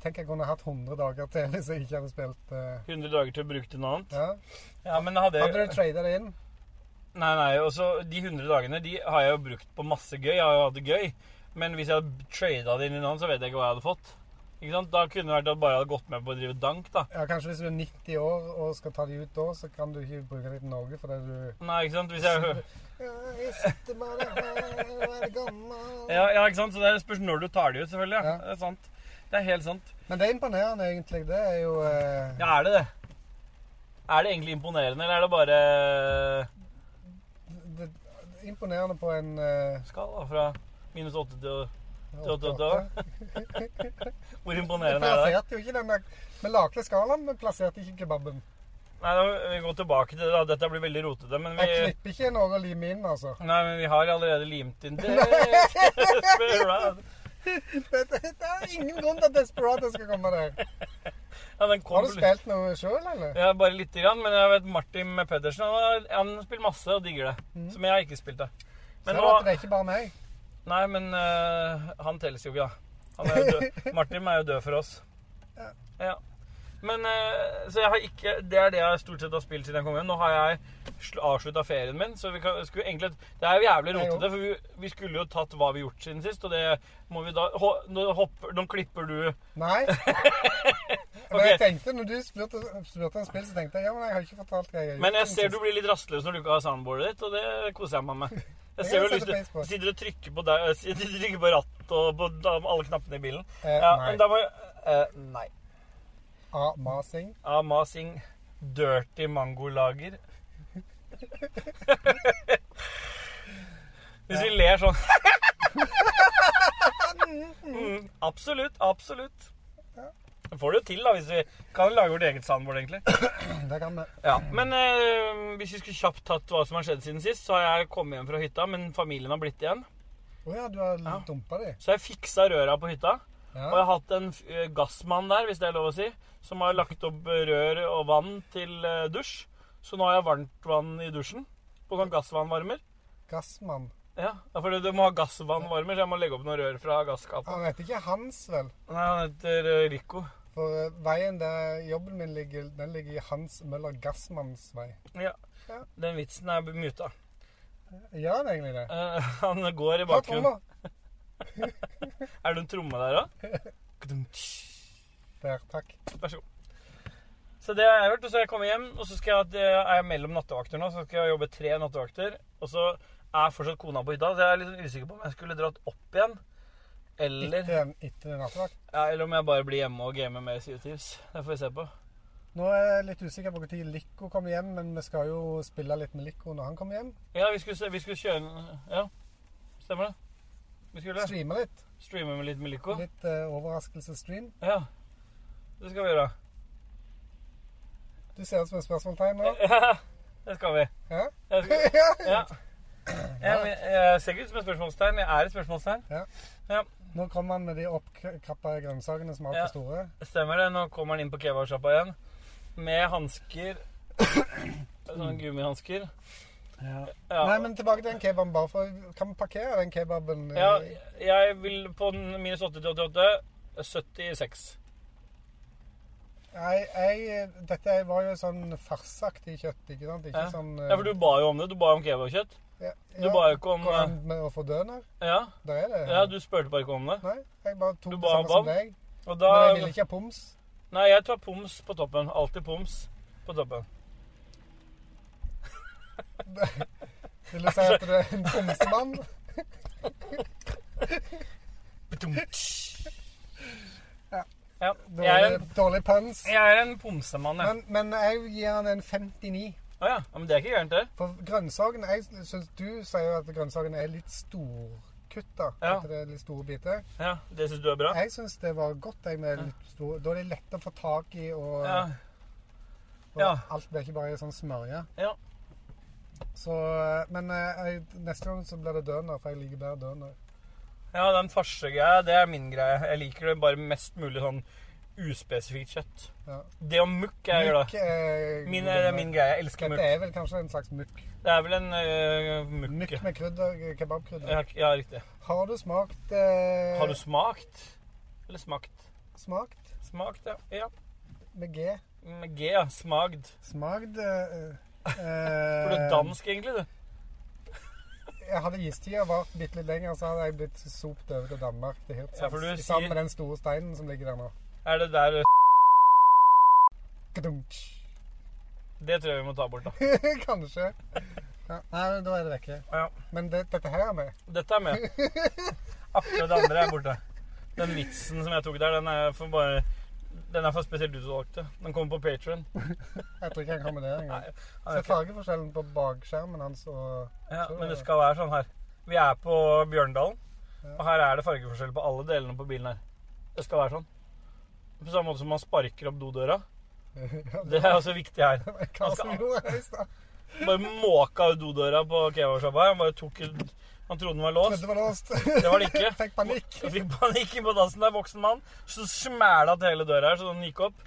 [SPEAKER 1] Tenk jeg kunne hatt 100 dager til hvis jeg ikke hadde spilt eh,
[SPEAKER 2] 100 dager til å bruke til noe annet.
[SPEAKER 1] ja.
[SPEAKER 2] Ja, men hadde
[SPEAKER 1] Hadde
[SPEAKER 2] jeg...
[SPEAKER 1] du trada det inn?
[SPEAKER 2] Nei, nei, og så De 100 dagene de har jeg jo brukt på masse gøy. Jeg har jo hatt det gøy. Men hvis jeg hadde trada det inn i noe annet, så vet jeg ikke hva jeg hadde fått. Ikke sant? Da kunne det vært at jeg bare hadde gått med på å drive dank, da.
[SPEAKER 1] Ja, Kanskje hvis du er 90 år og skal ta de ut da, så kan du ikke bruke dem til Norge fordi du
[SPEAKER 2] Nei, ikke sant? Hvis jeg...
[SPEAKER 1] ja, Jeg sitter bare her og er gammel
[SPEAKER 2] Ja, ja, ikke sant? Så det spørs når du tar de ut, selvfølgelig. Ja.
[SPEAKER 1] Ja.
[SPEAKER 2] Det er sant. Det er helt sant.
[SPEAKER 1] Men det er imponerende, egentlig. Det er jo eh,
[SPEAKER 2] Ja, er det det? Er det egentlig imponerende, eller er det bare eh,
[SPEAKER 1] det, det er imponerende på en eh,
[SPEAKER 2] skala fra minus åtte til til åtte åtte?
[SPEAKER 1] åtte-åtte.
[SPEAKER 2] Hvor
[SPEAKER 1] Vi
[SPEAKER 2] imponerende er det?
[SPEAKER 1] plasserte jo ikke den der Vi lagde skalaen, men plasserte ikke kebaben.
[SPEAKER 2] Nei, da, Vi går tilbake til det. da. Dette blir veldig rotete. Men vi,
[SPEAKER 1] Jeg klipper ikke noe å lime inn, altså.
[SPEAKER 2] nei, men vi har allerede limt
[SPEAKER 1] (laughs)
[SPEAKER 2] inn Desperado.
[SPEAKER 1] Det, det, det er ingen grunn til at Desperado skal komme der.
[SPEAKER 2] Ja, den kom
[SPEAKER 1] Har du spilt noe sjøl, eller?
[SPEAKER 2] Ja, bare lite grann, men jeg vet Martin Pedersen han, har- han har spilt masse og digger det.
[SPEAKER 1] Mhm.
[SPEAKER 2] Som jeg har ikke spilt det.
[SPEAKER 1] Ser
[SPEAKER 2] Men
[SPEAKER 1] du
[SPEAKER 2] nå,
[SPEAKER 1] at det er ikke bare meg?
[SPEAKER 2] nei, men øh, han telles jo ikke, da. Han er jo
[SPEAKER 1] (laughs)
[SPEAKER 2] død. Martin er jo død for oss.
[SPEAKER 1] Ja.
[SPEAKER 2] Ja. Men øh, Så jeg har ikke Det er det jeg stort sett har spilt siden jeg kom hjem. Nå har jeg avslutta ferien min, så vi kan, skulle egentlig Det er jo jævlig
[SPEAKER 1] Nei, jo.
[SPEAKER 2] rotete, for vi, vi skulle jo tatt hva vi har gjort siden sist, og det må vi da ho, nå, hopper, nå klipper du (laughs)
[SPEAKER 1] Nei. Men jeg tenkte, når du spurte, spurte om spill, så tenkte jeg ja, men jeg har ikke fortalt hva jeg har gjort.
[SPEAKER 2] Men jeg
[SPEAKER 1] siden
[SPEAKER 2] ser du
[SPEAKER 1] sist.
[SPEAKER 2] blir litt rastløs når du ikke har soundboardet ditt, og det koser jeg meg med. Jeg ser
[SPEAKER 1] Det
[SPEAKER 2] jo
[SPEAKER 1] setter
[SPEAKER 2] lyst til
[SPEAKER 1] pris på.
[SPEAKER 2] du sitter og trykker på, deg, (laughs) sitter og trykker på rattet og på da- alle knappene i bilen.
[SPEAKER 1] eh,
[SPEAKER 2] Ja,
[SPEAKER 1] Nei.
[SPEAKER 2] men da må jeg eh, Nei.
[SPEAKER 1] Ah, masing.
[SPEAKER 2] Amasing dirty mangolager. Hvis vi ler sånn mm, Absolutt, absolutt. Det får du jo til, da, hvis vi kan lage vårt eget soundboard, egentlig.
[SPEAKER 1] Det kan vi.
[SPEAKER 2] Ja, men eh, hvis vi skulle kjapt tatt hva som har skjedd siden sist, så har jeg kommet hjem fra hytta, men familien har blitt igjen.
[SPEAKER 1] Å ja, du har
[SPEAKER 2] Ja.
[SPEAKER 1] dumpa de?
[SPEAKER 2] Så jeg fiksa røra på hytta, og jeg
[SPEAKER 1] Ja.
[SPEAKER 2] har hatt en eh, gassmann der, hvis det er lov å si, som har lagt opp rør og vann til eh, dusj. Så nå har jeg varmt vann i dusjen på sånn gassvannvarmer.
[SPEAKER 1] Gassmann.
[SPEAKER 2] Ja, ja, for du- du må ha gassvannvarmer, så jeg må legge opp noen rør fra gasskapet.
[SPEAKER 1] Han heter ikke Hans, vel?
[SPEAKER 2] Nei, han heter eh, Rico.
[SPEAKER 1] For eh, veien der jobben min ligger, den ligger i Hans Møller Gassmanns vei.
[SPEAKER 2] Ja.
[SPEAKER 1] Ja.
[SPEAKER 2] Den vitsen er muta.
[SPEAKER 1] Gjør den egentlig det?
[SPEAKER 2] Eh, (laughs) han går i
[SPEAKER 1] Ta
[SPEAKER 2] bakgrunnen.
[SPEAKER 1] tromma.
[SPEAKER 2] Er det en tromme der òg?
[SPEAKER 1] Der, takk.
[SPEAKER 2] Vær så god. Så det har jeg gjort, og så har jeg kommet hjem, og så skal jeg, det er jeg mellom nattevakter nå, så skal jeg jobbe tre nattevakter, og så er fortsatt kona på hytta, så jeg er litt sånn usikker på om jeg skulle dratt opp igjen, eller,
[SPEAKER 1] Etter den, etter den nattevakt.
[SPEAKER 2] ja, eller om jeg bare blir hjemme og gamer mer Sea of Thieves. Det får vi se på.
[SPEAKER 1] Nå er jeg litt usikker på når Lico kommer hjem, men vi skal jo spille litt med Lico når han kommer hjem.
[SPEAKER 2] Ja, vi skulle, se- vi skulle kjøre, en- ja, stemmer det? Vi skulle
[SPEAKER 1] Streame litt.
[SPEAKER 2] streame med litt med Lico.
[SPEAKER 1] Litt eh, overraskelsesstream.
[SPEAKER 2] Ja, det skal vi gjøre. (laughs)
[SPEAKER 1] Du ser ut som et spørsmålstegn nå.
[SPEAKER 2] Ja, det skal vi.
[SPEAKER 1] Ja. (laughs)
[SPEAKER 2] Jeg skal, ja. Jeg, jeg, jeg ser ikke ut som et spørsmålstegn, jeg er et spørsmålstegn.
[SPEAKER 1] Nå kommer han med de oppkrappa grønnsakene som er
[SPEAKER 2] Ja.
[SPEAKER 1] altfor store.
[SPEAKER 2] Stemmer det. Nå kommer han inn på kebabsjappa igjen med hansker. Sånne gummihansker. Ja.
[SPEAKER 1] Nei, men tilbake til den kebaben. bare for Kan vi parkere den kebaben? eh,
[SPEAKER 2] ja, jeg vil på den minus 80 til 88 76.
[SPEAKER 1] Nei, jeg, dette var jo sånn farsaktig kjøtt, ikke sant? Ikke
[SPEAKER 2] Ja.
[SPEAKER 1] sånn eh,
[SPEAKER 2] Ja, for du ba jo om det. Du ba om kebabkjøtt.
[SPEAKER 1] ja,
[SPEAKER 2] Du
[SPEAKER 1] ja,
[SPEAKER 2] ba jo ikke om eh,
[SPEAKER 1] Går an med å få døner?
[SPEAKER 2] Ja,
[SPEAKER 1] Der er det.
[SPEAKER 2] ja du spurte bare ikke om det.
[SPEAKER 1] Nei, jeg bare tok
[SPEAKER 2] Du
[SPEAKER 1] det
[SPEAKER 2] ba om
[SPEAKER 1] samme som
[SPEAKER 2] bam?
[SPEAKER 1] deg.
[SPEAKER 2] Og da
[SPEAKER 1] Men jeg ville ikke ha poms.
[SPEAKER 2] Nei, jeg tar poms på toppen. Alltid poms på toppen.
[SPEAKER 1] Vil du si at du
[SPEAKER 2] (laughs)
[SPEAKER 1] er en pomsemann? Ja.
[SPEAKER 2] Ja. Jeg er
[SPEAKER 1] Dårlig,
[SPEAKER 2] en,
[SPEAKER 1] dårlig puns.
[SPEAKER 2] jeg er en pomsemann, jeg.
[SPEAKER 1] Men, men jeg gir han en 59.
[SPEAKER 2] Å ja. ja. Men det er ikke gærent, det.
[SPEAKER 1] For grønnsaken jeg synes Du sier jo at grønnsaken er litt storkutta.
[SPEAKER 2] Ja.
[SPEAKER 1] At det er litt store biter.
[SPEAKER 2] Ja, Det syns du er bra?
[SPEAKER 1] Jeg syns det var godt. Jeg, med litt stor, da er de lette å få tak i, og,
[SPEAKER 2] Ja.
[SPEAKER 1] og
[SPEAKER 2] ja.
[SPEAKER 1] alt blir ikke bare sånn smørje.
[SPEAKER 2] Ja.
[SPEAKER 1] Så, men eh, jeg, neste gang så blir det døner, for jeg liker bedre døner.
[SPEAKER 2] Ja, den farsegreia, det er min greie. Jeg liker det bare mest mulig sånn uspesifikt kjøtt.
[SPEAKER 1] Ja.
[SPEAKER 2] Det om mukk er jeg glad i.
[SPEAKER 1] er
[SPEAKER 2] Min, det er min greie. Jeg elsker
[SPEAKER 1] eh, Dette
[SPEAKER 2] mukk.
[SPEAKER 1] er vel kanskje en slags mukk.
[SPEAKER 2] Det er vel en øh,
[SPEAKER 1] Mukk
[SPEAKER 2] mukke.
[SPEAKER 1] med krydder, eh, kebabkrydder.
[SPEAKER 2] Ja, ja, riktig.
[SPEAKER 1] Har du smakt eh,
[SPEAKER 2] Har du smakt? Eller smakt?
[SPEAKER 1] smakt
[SPEAKER 2] Smakt, ja. ja.
[SPEAKER 1] med G?
[SPEAKER 2] Med G, ja. Smagd.
[SPEAKER 1] Smagd eh, eh,
[SPEAKER 2] For du er dansk, egentlig, du.
[SPEAKER 1] jeg hadde istida vart bitte litt lenger, så hadde jeg blitt sopt over til Danmark, til Hirtshals.
[SPEAKER 2] Ja, for du
[SPEAKER 1] sammen
[SPEAKER 2] sier-
[SPEAKER 1] med den store steinen som ligger der nå.
[SPEAKER 2] Er det der eh,
[SPEAKER 1] Kadunk.
[SPEAKER 2] Det tror jeg vi må ta bort, da.
[SPEAKER 1] (laughs) Kanskje. Ja, nei, men da er det vekke.
[SPEAKER 2] Ja.
[SPEAKER 1] Men det, dette her er med.
[SPEAKER 2] Dette
[SPEAKER 1] (laughs)
[SPEAKER 2] er med. Akkurat det andre er borte. Den vitsen som jeg tok der, den er for bare Den er for spesielt utvalgte. Den kommer på Patron.
[SPEAKER 1] Jeg tror ikke han har med det engang. Se
[SPEAKER 2] Ja,
[SPEAKER 1] fargeforskjellen på bakskjermen hans og (laughs)
[SPEAKER 2] men det skal være sånn her. Vi er på Bjørndalen, og her er det fargeforskjell på alle delene på bilen her. Det skal være sånn. På samme måte som man sparker opp dodøra. Det er også viktig her.
[SPEAKER 1] Hva som gjorde det i stad?
[SPEAKER 2] Bare måka ut dodøra på kebabsjappa her. Han bare tok ut Han trodde den var låst.
[SPEAKER 1] Trodde det var låst. (laughs)
[SPEAKER 2] Det var det ikke.
[SPEAKER 1] Fikk panikk.
[SPEAKER 2] Jeg fikk (laughs) panikk på dassen der, voksen mann. Så smæla til hele døra her, så den gikk opp.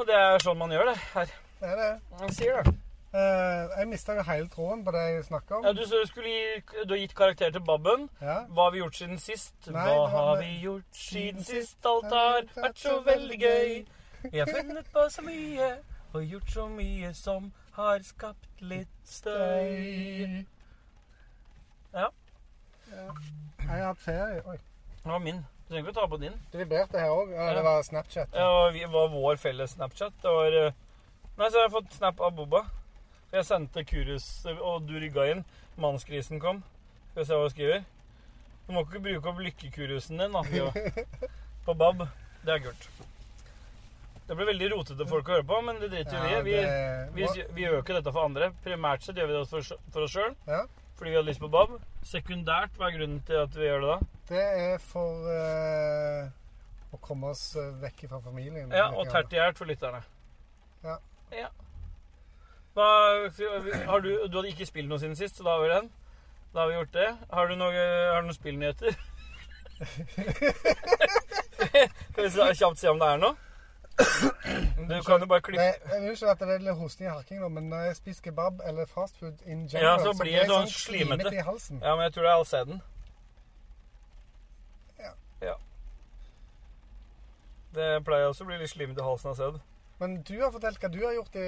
[SPEAKER 2] Og det er sånn man gjør det her.
[SPEAKER 1] Det er det.
[SPEAKER 2] Man sier det.
[SPEAKER 1] Eh, jeg mista jo hele tråden på det jeg snakka om.
[SPEAKER 2] Ja, du, så skulle gi, du har gitt karakter til Babben.
[SPEAKER 1] Ja.
[SPEAKER 2] Hva har vi gjort siden sist?
[SPEAKER 1] Nei,
[SPEAKER 2] Hva
[SPEAKER 1] det var
[SPEAKER 2] har
[SPEAKER 1] med-
[SPEAKER 2] vi gjort siden sist? Alt har vært så veldig gøy. Vi har funnet på så mye og gjort så mye som har skapt litt støy.
[SPEAKER 1] Støy.
[SPEAKER 2] Ja.
[SPEAKER 1] Ja. Jeg har hatt ferie. Oi.
[SPEAKER 2] Det var min. Du trenger ikke å ta på din.
[SPEAKER 1] Det vibrerte her òg. Ja,
[SPEAKER 2] Ja.
[SPEAKER 1] det var Snapchat.
[SPEAKER 2] Ja, og vi var vår felles Snapchat. Det var eh, Nei, så har jeg fått snap av Boba. Jeg sendte Kurus, og du rygga inn. Mannskrisen kom. Skal vi se hva hun skriver. Du må ikke bruke opp lykkekurusen din, da. skriver hun. På Bab. Det er gult. Det blir veldig rotete folk å høre på, men det driter
[SPEAKER 1] Ja,
[SPEAKER 2] vi i.
[SPEAKER 1] det-
[SPEAKER 2] Vi, vi, vi gjør jo ikke dette for andre. Primært sett gjør vi det for, for oss sjøl,
[SPEAKER 1] Ja.
[SPEAKER 2] fordi vi hadde lyst på Bab. Sekundært, hva er grunnen til at vi gjør det da?
[SPEAKER 1] Det er for eh, å komme oss eh, vekk fra familien.
[SPEAKER 2] Ja, og tertiært for lytterne.
[SPEAKER 1] Ja.
[SPEAKER 2] Ja. Hva, har du, du hadde ikke spilt noe siden sist, så da har vi den. Da har vi gjort det. Har du noe- har du noen spillnyheter? (laughs) Skal vi se- kjapt se om det er noe? Du kan jo bare
[SPEAKER 1] Nei,
[SPEAKER 2] klippe
[SPEAKER 1] jeg vil ikke at det er litt hosting og harking, nå, men når jeg spiser kebab eller fast food in
[SPEAKER 2] Ja,
[SPEAKER 1] general,
[SPEAKER 2] så blir det
[SPEAKER 1] jeg
[SPEAKER 2] sånn slimete.
[SPEAKER 1] i halsen.
[SPEAKER 2] Ja, men jeg tror det er Alseden.
[SPEAKER 1] Ja.
[SPEAKER 2] ja. Det pleier også å bli litt slimete i halsen av sæd.
[SPEAKER 1] Men du har fortalt hva du har gjort i,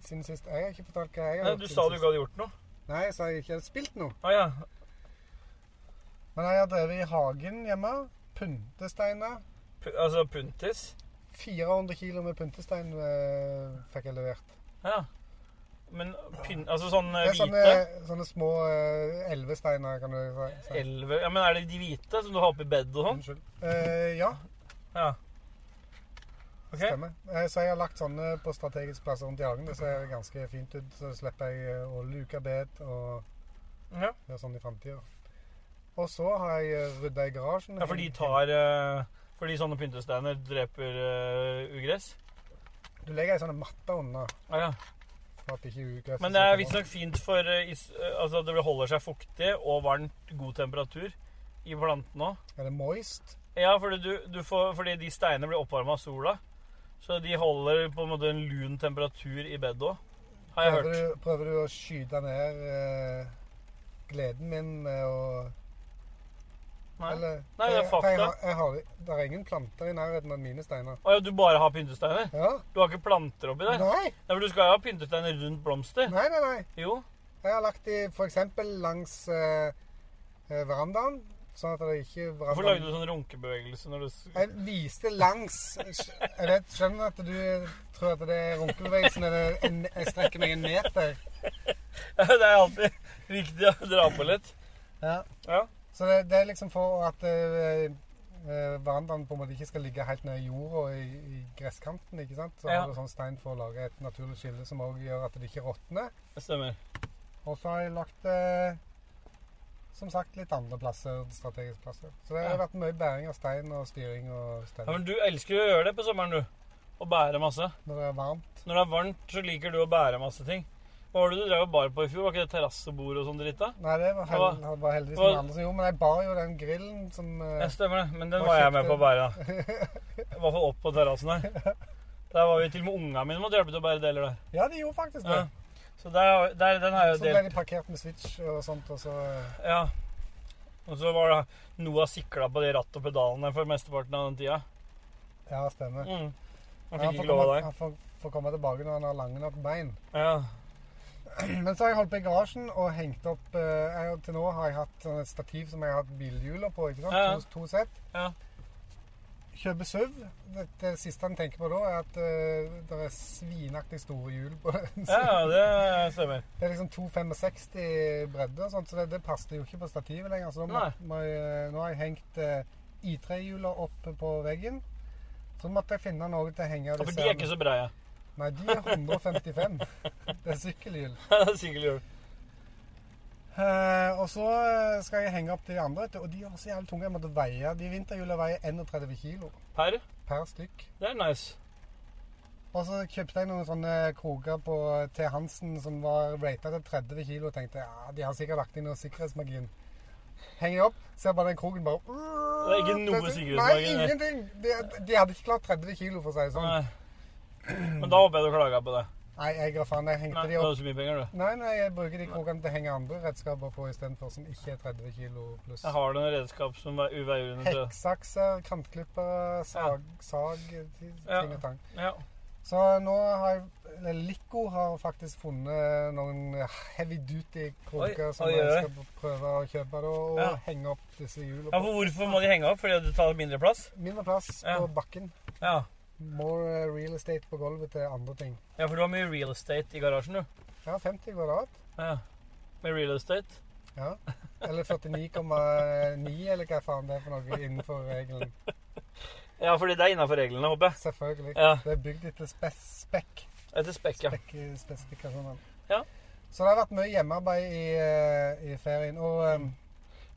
[SPEAKER 1] siden sist. Jeg har ikke fortalt hva jeg har
[SPEAKER 2] Nei,
[SPEAKER 1] gjort.
[SPEAKER 2] Du
[SPEAKER 1] siden
[SPEAKER 2] sa du
[SPEAKER 1] sist.
[SPEAKER 2] ikke hadde gjort noe.
[SPEAKER 1] Nei, jeg sa jeg ikke hadde spilt noe.
[SPEAKER 2] Å ja.
[SPEAKER 1] Men jeg har drevet i hagen hjemme. Pyntesteiner.
[SPEAKER 2] P altså puntis.
[SPEAKER 1] 400 kilo med pyntestein eh, fikk jeg levert.
[SPEAKER 2] Ja. Men pyn... Altså sånn
[SPEAKER 1] Det
[SPEAKER 2] eh,
[SPEAKER 1] er sånne,
[SPEAKER 2] hvite?
[SPEAKER 1] sånne små eh, elvesteiner, kan du si- si.
[SPEAKER 2] Elve... Ja, men er det de hvite som du har oppi bedet og sånn?
[SPEAKER 1] Unnskyld. Eh, ja.
[SPEAKER 2] Ja. Ok.
[SPEAKER 1] Stemmer. Eh, Så jeg har lagt sånne på strategisk plass rundt i hagen. Det ser ganske fint ut. Så slipper jeg eh, å luke bed og
[SPEAKER 2] Ja.
[SPEAKER 1] gjøre sånn i framtida. Og så har jeg eh, rydda i garasjen.
[SPEAKER 2] ja, for de tar eh, Fordi sånne pyntesteiner dreper eh, ugress?
[SPEAKER 1] Du legger ei sånn matte under
[SPEAKER 2] Ja, ja.
[SPEAKER 1] for at ikke ugresset
[SPEAKER 2] Men det er
[SPEAKER 1] skal komme.
[SPEAKER 2] visstnok fint for eh, is, eh, Altså det holder seg fuktig og varmt, god temperatur i plantene òg.
[SPEAKER 1] Er det moist?
[SPEAKER 2] Ja, fordi, du, du får, fordi de steinene blir oppvarma av sola. Så de holder på en måte en lun temperatur i bedet òg, har jeg
[SPEAKER 1] Prøver
[SPEAKER 2] hørt.
[SPEAKER 1] du, prøver du å skyte ned eh, gleden min med å
[SPEAKER 2] Nei.
[SPEAKER 1] Eller
[SPEAKER 2] Nei, det er
[SPEAKER 1] For jeg,
[SPEAKER 2] fakta.
[SPEAKER 1] har- jeg har, det er ingen planter i nærheten av mine steiner.
[SPEAKER 2] Å ja, du bare har pyntesteiner?
[SPEAKER 1] Ja?
[SPEAKER 2] Du har ikke planter oppi der?
[SPEAKER 1] Nei,
[SPEAKER 2] Nei, for Du skal jo ha pyntesteiner rundt blomster.
[SPEAKER 1] nei, nei. nei.
[SPEAKER 2] Jo.
[SPEAKER 1] Jeg har lagt de f.eks. langs eh, eh, verandaen, sånn at det ikke
[SPEAKER 2] Hvorfor
[SPEAKER 1] verandaen
[SPEAKER 2] lagde du sånn runkebevegelse når du s-
[SPEAKER 1] Jeg viste langs Jeg vet, skjønner at du tror at det er runkebevegelsen eller en, jeg strekker meg en meter.
[SPEAKER 2] (laughs) Det er alltid viktig å dra på litt.
[SPEAKER 1] Ja.
[SPEAKER 2] Ja.
[SPEAKER 1] Så det, det er liksom for at eh, eh, verandaen på en måte ikke skal ligge helt ned i jorda og i, i gresskanten. ikke sant? Så
[SPEAKER 2] Ja.
[SPEAKER 1] har du sånn stein for å lage et naturlig skille som òg gjør at det ikke råtner.
[SPEAKER 2] Det stemmer.
[SPEAKER 1] Og så har jeg lagt eh, som sagt litt andre plasser, strategiske plasser. Så det har
[SPEAKER 2] Ja.
[SPEAKER 1] vært mye bæring av stein og styring og
[SPEAKER 2] Ja,
[SPEAKER 1] stell.
[SPEAKER 2] men Du elsker jo å gjøre det på sommeren, du. Å bære masse.
[SPEAKER 1] Når det er varmt.
[SPEAKER 2] Når det er varmt, så liker du å bære masse ting. Hva var det du drev og bar på i fjor? Var ikke det terrassebord og sånn dritt? da?
[SPEAKER 1] Nei, det var, hel,
[SPEAKER 2] Hva-
[SPEAKER 1] det var heldigvis
[SPEAKER 2] hva-
[SPEAKER 1] noen andre som gjorde, men jeg bar jo den grillen som eh,
[SPEAKER 2] Ja, stemmer det. Men den
[SPEAKER 1] Hva
[SPEAKER 2] var jeg med
[SPEAKER 1] kjøpte
[SPEAKER 2] på å bære. da. I hvert fall opp på terrassen her. Der var vi til og med unga mine måtte hjelpe til å bære deler der.
[SPEAKER 1] Ja, de gjorde faktisk det.
[SPEAKER 2] Ja. Så der, der, den har
[SPEAKER 1] Så
[SPEAKER 2] jeg jo
[SPEAKER 1] ble
[SPEAKER 2] delt.
[SPEAKER 1] de parkert med switch og sånt, og så eh,
[SPEAKER 2] Ja. Og så var det Noah sikla på de ratt og pedalene for mesteparten av den tida.
[SPEAKER 1] Ja, stemmer.
[SPEAKER 2] Mm.
[SPEAKER 1] Ja,
[SPEAKER 2] Han fikk
[SPEAKER 1] får
[SPEAKER 2] ikke lov av
[SPEAKER 1] komme-
[SPEAKER 2] deg.
[SPEAKER 1] Han får, får komme tilbake når han har lange nok bein.
[SPEAKER 2] Ja.
[SPEAKER 1] Men så har jeg holdt på i garasjen og hengt opp eh, jeg, Til nå har jeg hatt sånn et stativ som jeg har hatt bilhjuler på. ikke sant?
[SPEAKER 2] Ja, ja.
[SPEAKER 1] To, to sett.
[SPEAKER 2] Ja.
[SPEAKER 1] Kjøper SUV. Det, det siste han tenker på da, er at eh, det er svinaktig store hjul på (laughs) den.
[SPEAKER 2] Ja, ja, det stemmer.
[SPEAKER 1] Det er liksom 2,65 i bredde, og sånt, så det, det passet jo ikke på stativet lenger. Så nå, må,
[SPEAKER 2] Nei.
[SPEAKER 1] må jeg, nå har jeg hengt eh, I3-hjula opp på veggen. Så måtte jeg finne noe til å henge
[SPEAKER 2] Ja, for de er ikke så breie. (laughs)
[SPEAKER 1] Nei, de er 155. (laughs) det er sykkelhjul.
[SPEAKER 2] Sykkelhjul.
[SPEAKER 1] Eh, og så eh, skal jeg henge opp de andre, vet du, og de er så jævlig tunge. Jeg måtte veie De vinterhjula veier 31 kilo
[SPEAKER 2] Per,
[SPEAKER 1] per stykk.
[SPEAKER 2] det er nice.
[SPEAKER 1] Og så kjøpte jeg noen sånne kroker på T. Hansen som var ratet til 30 kilo. Og tenkte ja, de har sikkert lagt inn noe sikkerhetsmargin. Henger jeg opp, ser bare den kroken bare Det
[SPEAKER 2] er ikke noe sikkerhetsmargin,
[SPEAKER 1] Nei,
[SPEAKER 2] nei.
[SPEAKER 1] ingenting! De, de hadde ikke klart 30 kilo, for å si det sånn.
[SPEAKER 2] Nei. Men da håper jeg du klaga på det.
[SPEAKER 1] Nei, jeg ga faen. Jeg
[SPEAKER 2] Nei,
[SPEAKER 1] hengte
[SPEAKER 2] Du
[SPEAKER 1] de
[SPEAKER 2] har
[SPEAKER 1] opp.
[SPEAKER 2] jo så mye penger, du.
[SPEAKER 1] Nei, nei, jeg bruker de krokene til å henge andre redskaper på istedenfor, som ikke er 30 kilo pluss.
[SPEAKER 2] Jeg har noen redskap som veier uveier under tre.
[SPEAKER 1] Hekksakser, kantklippere, sag, sag ting
[SPEAKER 2] Ja.
[SPEAKER 1] og tang.
[SPEAKER 2] Ja.
[SPEAKER 1] Så nå har jeg eller Lico har faktisk funnet noen heavy duty kroker
[SPEAKER 2] Oi,
[SPEAKER 1] som
[SPEAKER 2] oi, oi.
[SPEAKER 1] jeg skal prøve å kjøpe da, og
[SPEAKER 2] Ja.
[SPEAKER 1] henge opp disse hjulene på.
[SPEAKER 2] ja, for hvorfor må de henge opp? Fordi det tar mindre plass?
[SPEAKER 1] Mindre plass
[SPEAKER 2] Ja.
[SPEAKER 1] på bakken.
[SPEAKER 2] Ja.
[SPEAKER 1] More eh, real estate på gulvet til andre ting.
[SPEAKER 2] ja, for du har mye real estate i garasjen, du.
[SPEAKER 1] Ja, 50 kvadrat.
[SPEAKER 2] Ja. Med real estate.
[SPEAKER 1] Ja. Eller 49,9 eller hva faen det er for noe innenfor regelen.
[SPEAKER 2] Ja, fordi det er innafor reglene, håper jeg.
[SPEAKER 1] Selvfølgelig.
[SPEAKER 2] Ja.
[SPEAKER 1] Det er bygd etter spes spekk.
[SPEAKER 2] Etter spekk, ja.
[SPEAKER 1] Spekk- spesifikasjonene.
[SPEAKER 2] Ja.
[SPEAKER 1] sånn. Så det har vært mye hjemmearbeid i, eh, i ferien. Og eh,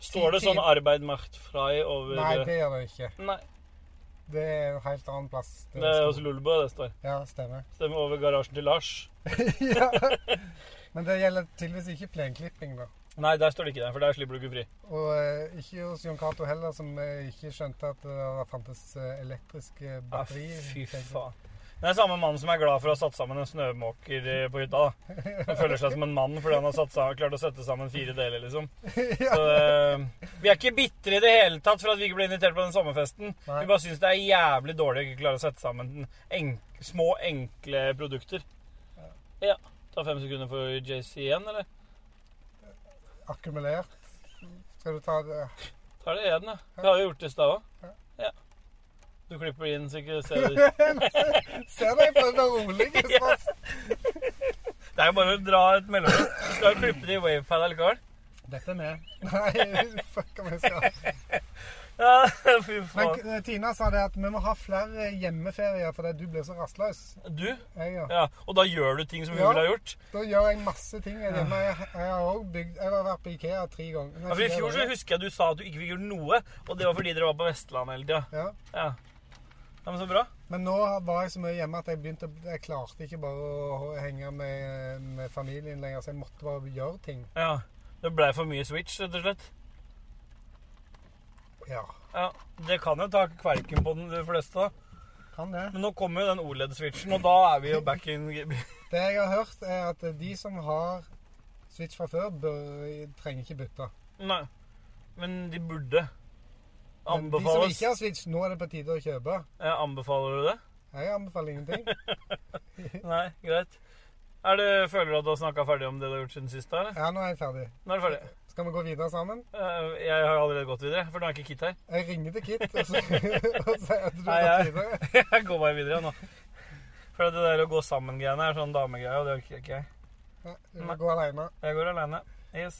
[SPEAKER 2] Står det sånn 'arbeid macht frei' over
[SPEAKER 1] nei, det gjør det ikke.
[SPEAKER 2] Nei,
[SPEAKER 1] Det er en helt annen plass.
[SPEAKER 2] det er hos Lulebo det står.
[SPEAKER 1] Ja,
[SPEAKER 2] (laughs)
[SPEAKER 1] stemmer. (laughs)
[SPEAKER 2] Stemmer over garasjen til Lars.
[SPEAKER 1] ja. Men det gjelder tydeligvis ikke plenklipping, da.
[SPEAKER 2] Nei, der står det ikke det, for der slipper du ikke fri.
[SPEAKER 1] Og eh, ikke hos Jon Cato heller, som eh, ikke skjønte at det fantes eh, elektriske
[SPEAKER 2] Ja,
[SPEAKER 1] batteri.
[SPEAKER 2] Ah, fy
[SPEAKER 1] tenkte jeg.
[SPEAKER 2] faen. Det er samme mannen som er glad for å ha satt sammen en snømåker eh, på hytta. da. Han føler seg som en mann fordi han har satt sammen, klart å sette sammen fire deler, liksom.
[SPEAKER 1] (laughs)
[SPEAKER 2] Så, eh, vi er ikke bitre i det hele tatt for at vi ikke ble invitert på den sommerfesten.
[SPEAKER 1] Nei.
[SPEAKER 2] Vi bare syns det er jævlig dårlig å ikke klare å sette sammen enk små, enkle produkter. Ja. Ta fem sekunder for JC igjen, eller?
[SPEAKER 1] Akkumulert. Skal du ta det? (laughs)
[SPEAKER 2] Ta det igjen, ja. Vi har jo gjort det i stad òg.
[SPEAKER 1] Ja.
[SPEAKER 2] Ja. Du klipper det inn, så ikke ser det.
[SPEAKER 1] Ser deg på den
[SPEAKER 2] (laughs)
[SPEAKER 1] rolige spørs.
[SPEAKER 2] Det er jo bare å dra et mellomrom. Du skal jo klippe det i wavepad allikevel.
[SPEAKER 1] Dette er med. (laughs) Nei, fuck om jeg skal.
[SPEAKER 2] Ja, (laughs) fy
[SPEAKER 1] Men
[SPEAKER 2] faen.
[SPEAKER 1] eh, Tina sa det at vi må ha flere hjemmeferier fordi du blir så rastløs.
[SPEAKER 2] Du?
[SPEAKER 1] Jeg, ja.
[SPEAKER 2] Ja, og da gjør du ting som hun
[SPEAKER 1] Ja.
[SPEAKER 2] ville ha gjort.
[SPEAKER 1] Da gjør jeg masse ting hjemme. Jeg, jeg har også bygd Jeg har vært på Ikea tre ganger. Nei,
[SPEAKER 2] Ja, for I
[SPEAKER 1] fire
[SPEAKER 2] fjor så
[SPEAKER 1] ganger.
[SPEAKER 2] husker jeg du sa at du ikke fikk gjort noe, og det var fordi dere var på Vestlandet hele tida.
[SPEAKER 1] ja.
[SPEAKER 2] Ja. ja, men så bra.
[SPEAKER 1] Men nå var jeg så mye hjemme at jeg begynte Jeg klarte ikke bare å henge med, med familien lenger, så jeg måtte bare gjøre ting.
[SPEAKER 2] Ja. Det blei for mye switch, rett og slett.
[SPEAKER 1] Ja.
[SPEAKER 2] Ja, Det kan jo ta kverken på den de fleste, da.
[SPEAKER 1] Kan det.
[SPEAKER 2] Men nå kommer jo den OLED-switchen, og da er vi jo back in
[SPEAKER 1] Det jeg har hørt, er at de som har Switch fra før, bør, trenger ikke bytte.
[SPEAKER 2] Nei. Men de burde.
[SPEAKER 1] Men de som
[SPEAKER 2] Anbefales.
[SPEAKER 1] ikke har Switch, nå er det på tide å kjøpe.
[SPEAKER 2] Ja, anbefaler du det?
[SPEAKER 1] Jeg anbefaler ingenting.
[SPEAKER 2] Nei, greit. Er det, føler du at du har snakka ferdig om det du har gjort siden sist? da, eller?
[SPEAKER 1] Ja, nå er jeg ferdig.
[SPEAKER 2] Nå er du ferdig.
[SPEAKER 1] Skal vi gå videre sammen?
[SPEAKER 2] Eh, Jeg har allerede gått videre, for nå er ikke Kit her. (laughs)
[SPEAKER 1] Jeg ringer til Kit og så- (laughs) og sier at du
[SPEAKER 2] Nei,
[SPEAKER 1] har
[SPEAKER 2] jeg-
[SPEAKER 1] gått videre.
[SPEAKER 2] Jeg går bare videre nå. For det der å gå sammen-greiene er sånn damegreie, og det orker ikke jeg.
[SPEAKER 1] Nei, Du må gå alene.
[SPEAKER 2] Jeg går alene. Yes.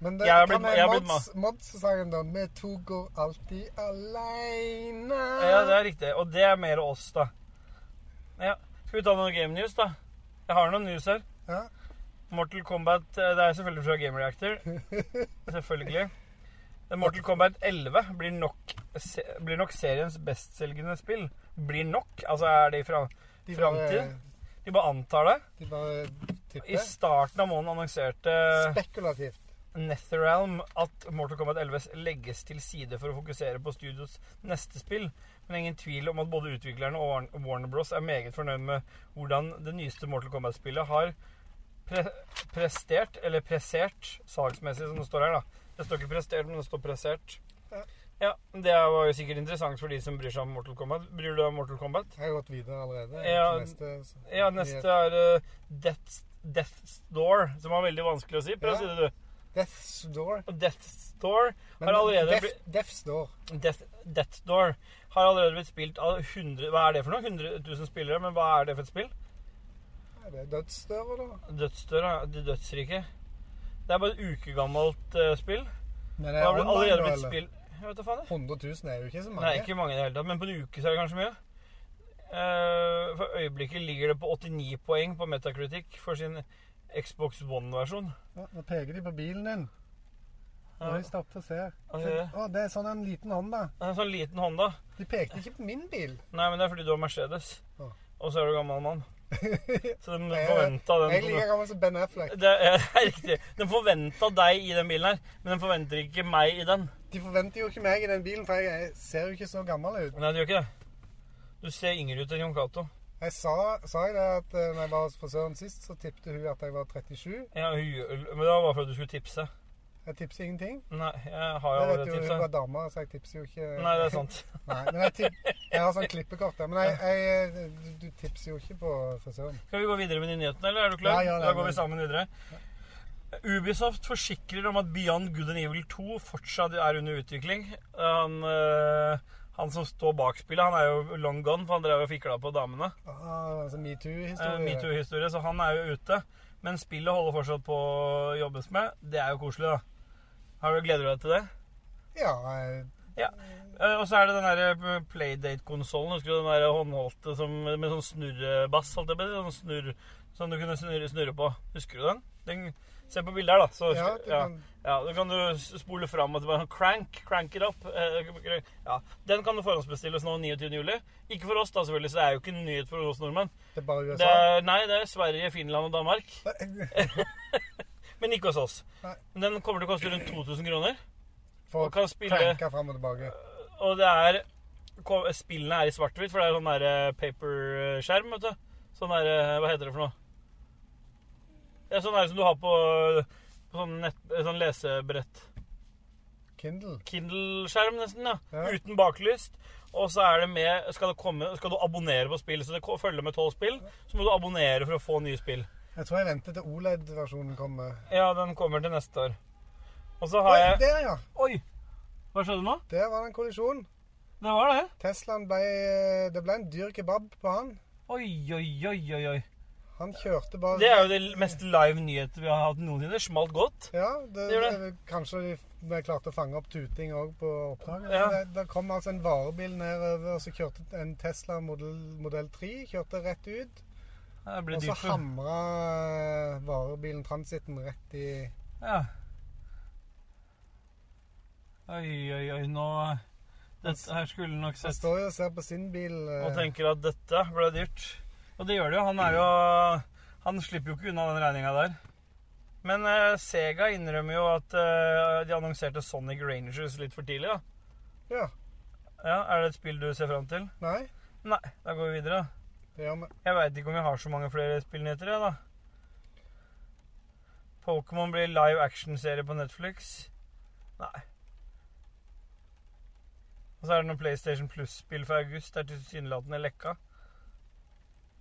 [SPEAKER 1] Men det
[SPEAKER 2] Jeg har
[SPEAKER 1] hva
[SPEAKER 2] blitt-
[SPEAKER 1] med
[SPEAKER 2] jeg har blitt
[SPEAKER 1] Mods- Mods-sangen, da. Vi to går alltid alene.
[SPEAKER 2] Ja, det er riktig. Og det er mer oss, da. Ja. Skal vi ta noen game news, da? Jeg har noen news her.
[SPEAKER 1] Ja.
[SPEAKER 2] Mortal Kombat eh, Det er selvfølgelig fra Game Reactor. Selvfølgelig. Mortal Kombat 11 blir nok, se, blir nok seriens bestselgende spill. Blir nok? Altså, er det i fra,
[SPEAKER 1] De
[SPEAKER 2] framtid?
[SPEAKER 1] bare,
[SPEAKER 2] De bare antar det.
[SPEAKER 1] de bare tipper.
[SPEAKER 2] I eh, starten av måneden annonserte
[SPEAKER 1] Spekulativt.
[SPEAKER 2] Netherrealm at Mortal Kombat 11 legges til side for å fokusere på studios neste spill, men ingen tvil om at både utviklerne og Warn- Warner Bros. er meget fornøyd med hvordan det nyeste Mortal Kombat-spillet har pre prestert, eller pressert, salgsmessig, som det står her, da. Det står ikke prestert, men det står pressert.
[SPEAKER 1] Ja.
[SPEAKER 2] Ja, det var jo sikkert interessant for de som bryr seg om Mortal Kombat. Bryr du deg om Mortal Kombat?
[SPEAKER 1] Jeg har gått videre allerede.
[SPEAKER 2] Ja.
[SPEAKER 1] Til neste, så-
[SPEAKER 2] Ja, neste er eh, Death, Death's Door, som var veldig vanskelig å si. Prøv å
[SPEAKER 1] Ja.
[SPEAKER 2] si det, du.
[SPEAKER 1] Death's Door.
[SPEAKER 2] Og Death's Door
[SPEAKER 1] Men
[SPEAKER 2] har allerede
[SPEAKER 1] Death,
[SPEAKER 2] blitt
[SPEAKER 1] Death's Door.
[SPEAKER 2] Death, Death Door har allerede blitt spilt av 100 Hva er det for noe? 100 000 spillere, men hva er det for et spill?
[SPEAKER 1] Er det dødsdøra, da?
[SPEAKER 2] Dødsdør, ja. Det dødsrike. Det er bare et ukegammelt eh, spill.
[SPEAKER 1] Men det
[SPEAKER 2] Det
[SPEAKER 1] er
[SPEAKER 2] har blitt-
[SPEAKER 1] online,
[SPEAKER 2] allerede
[SPEAKER 1] da,
[SPEAKER 2] blitt
[SPEAKER 1] eller?
[SPEAKER 2] spill Jeg vet da faen, jeg.
[SPEAKER 1] 100 000 er jo ikke så mange.
[SPEAKER 2] Det er ikke mange i det hele tatt, men på en uke så er det kanskje mye. Eh, for øyeblikket ligger det på 89 poeng på Metacritic for sin Xbox One-versjon.
[SPEAKER 1] Ja, nå peker de på bilen din. Nå
[SPEAKER 2] Ja.
[SPEAKER 1] har de stoppet og ser.
[SPEAKER 2] Ja,
[SPEAKER 1] Se-
[SPEAKER 2] ja, ja.
[SPEAKER 1] Å, det er sånn en liten hånd, da.
[SPEAKER 2] En sånn liten Honda.
[SPEAKER 1] De pekte ikke på min bil.
[SPEAKER 2] Nei, men det er fordi du har Mercedes.
[SPEAKER 1] Ja.
[SPEAKER 2] Og så er du gammel
[SPEAKER 1] (laughs)
[SPEAKER 2] mann. Så de
[SPEAKER 1] Jeg-
[SPEAKER 2] forventa
[SPEAKER 1] Jeg er
[SPEAKER 2] den
[SPEAKER 1] like gammel som Ben Affleck.
[SPEAKER 2] det er, (laughs) det er riktig. De forventa deg i den bilen her, men de forventer ikke meg i den.
[SPEAKER 1] De forventer jo ikke meg i den bilen, for jeg ser jo ikke så gammel ut.
[SPEAKER 2] Nei, du gjør ikke det. Du ser yngre ut enn Jon Cato.
[SPEAKER 1] Jeg sa, sa jeg det at eh, når jeg var hos frisøren sist, så tippte hun at jeg var 37.
[SPEAKER 2] Ja, hun gjør- men det var bare for at du skulle tipse.
[SPEAKER 1] Jeg tipser ingenting.
[SPEAKER 2] Nei, jeg har jo
[SPEAKER 1] Jeg vet
[SPEAKER 2] allerede
[SPEAKER 1] jo hun var
[SPEAKER 2] tipsa.
[SPEAKER 1] dame, så jeg tipser jo ikke.
[SPEAKER 2] Nei, det er sant.
[SPEAKER 1] Nei, men jeg, tipp, jeg har sånn klippekort der. Men jeg, jeg, du, du tipser jo ikke på frisøren.
[SPEAKER 2] Skal vi gå videre med de nyhetene, eller er du
[SPEAKER 1] Ja,
[SPEAKER 2] klar?
[SPEAKER 1] ja, ja,
[SPEAKER 2] da går
[SPEAKER 1] ja.
[SPEAKER 2] vi sammen videre. Ubisoft forsikrer om at Beyond Good and Evil 2 fortsatt er under utvikling. Han, eh, han som står bak spillet, han er jo long gone, for han drev og fikla på damene.
[SPEAKER 1] Ah, altså
[SPEAKER 2] Eh,
[SPEAKER 1] metoo-historie.
[SPEAKER 2] Metoo-historie, så han er jo ute. Men spillet holder fortsatt på å jobbes med. Det er jo koselig, da. Har du Gleder du deg til det?
[SPEAKER 1] ja, jeg-
[SPEAKER 2] Eh, Og så er det den der Playdate-konsollen. Husker du den der håndholdte som, med sånn snurrebass? Holdt jeg på, å si, sånn snurr, som du kunne snurre, snurre på. Husker du den? den? Se på bildet her, da. Så,
[SPEAKER 1] ja,
[SPEAKER 2] husker-
[SPEAKER 1] du
[SPEAKER 2] ja,
[SPEAKER 1] kan-
[SPEAKER 2] ja, Da kan du s- spole fram og tilbake. sånn Crank, crank it up. eh, crank- Ja, den kan du forhåndsbestilles nå 29. juli. Ikke for oss, da, selvfølgelig, så det er jo ikke en nyhet for oss nordmenn.
[SPEAKER 1] det er bare
[SPEAKER 2] Det
[SPEAKER 1] USA. (laughs)
[SPEAKER 2] er, nei, det er Sverige, Finland og Danmark. Men ikke hos oss.
[SPEAKER 1] Nei.
[SPEAKER 2] Den kommer til å koste
[SPEAKER 1] (clears throat)
[SPEAKER 2] rundt 2000 kroner.
[SPEAKER 1] For
[SPEAKER 2] Og kan spille-
[SPEAKER 1] krenke frem og tilbake.
[SPEAKER 2] Og det er ko- Spillene er i svart-hvitt, for det er sånn der eh, paper-skjerm, vet du. Sånn der eh, Hva heter det for noe? Det er sånn der som du har på, på sånn, nett, eh, sånn lesebrett.
[SPEAKER 1] Kindle.
[SPEAKER 2] Kindle-skjerm, nesten, ja.
[SPEAKER 1] Ja.
[SPEAKER 2] Uten baklyst. Og så er det med skal, det komme, skal du abonnere på spill, så det ko- følger med tolv spill. Så må du abonnere for å få nye spill.
[SPEAKER 1] Jeg tror jeg venter til OLED-versjonen kommer.
[SPEAKER 2] Ja, den kommer til neste år. Og så
[SPEAKER 1] Oi,
[SPEAKER 2] har jeg
[SPEAKER 1] der ja!
[SPEAKER 2] Oi! Hva skjedde nå?
[SPEAKER 1] Der var det en kollisjon.
[SPEAKER 2] Det var det.
[SPEAKER 1] Teslaen ble Det ble en dyr kebab på han.
[SPEAKER 2] Oi, oi, oi, oi, oi.
[SPEAKER 1] Han kjørte bare
[SPEAKER 2] Det er jo det mest live nyheter vi har hatt noensinne. Det Smalt godt.
[SPEAKER 1] Ja, det,
[SPEAKER 2] Det gjør
[SPEAKER 1] det- kanskje de vi klarte å fange opp tuting òg på oppdraget.
[SPEAKER 2] Ja.
[SPEAKER 1] Det, det kom altså en varebil nedover, og så kjørte en Tesla modell, modell 3 kjørte rett ut.
[SPEAKER 2] Det blir
[SPEAKER 1] Og så
[SPEAKER 2] dyrt for
[SPEAKER 1] hamra varebilen Transiten rett i
[SPEAKER 2] ja. Oi, oi, oi, nå Dette her skulle nok
[SPEAKER 1] Han
[SPEAKER 2] sett
[SPEAKER 1] står jo og ser på sin bil. eh,
[SPEAKER 2] Og tenker at dette ble dyrt. Og det gjør det jo. Han er jo Han slipper jo ikke unna den regninga der. Men eh, Sega innrømmer jo at eh, de annonserte Sonic Rangers litt for tidlig, da.
[SPEAKER 1] Ja.
[SPEAKER 2] Ja, er det et spill du ser fram til?
[SPEAKER 1] Nei,
[SPEAKER 2] Nei, da går vi videre. da.
[SPEAKER 1] det gjør vi.
[SPEAKER 2] Jeg veit ikke om jeg har så mange flere spillnyheter, jeg, da. Pokémon blir live action-serie på Netflix. Nei. Og så er det noen PlayStation Plus-spill fra august. Det er tilsynelatende lekka.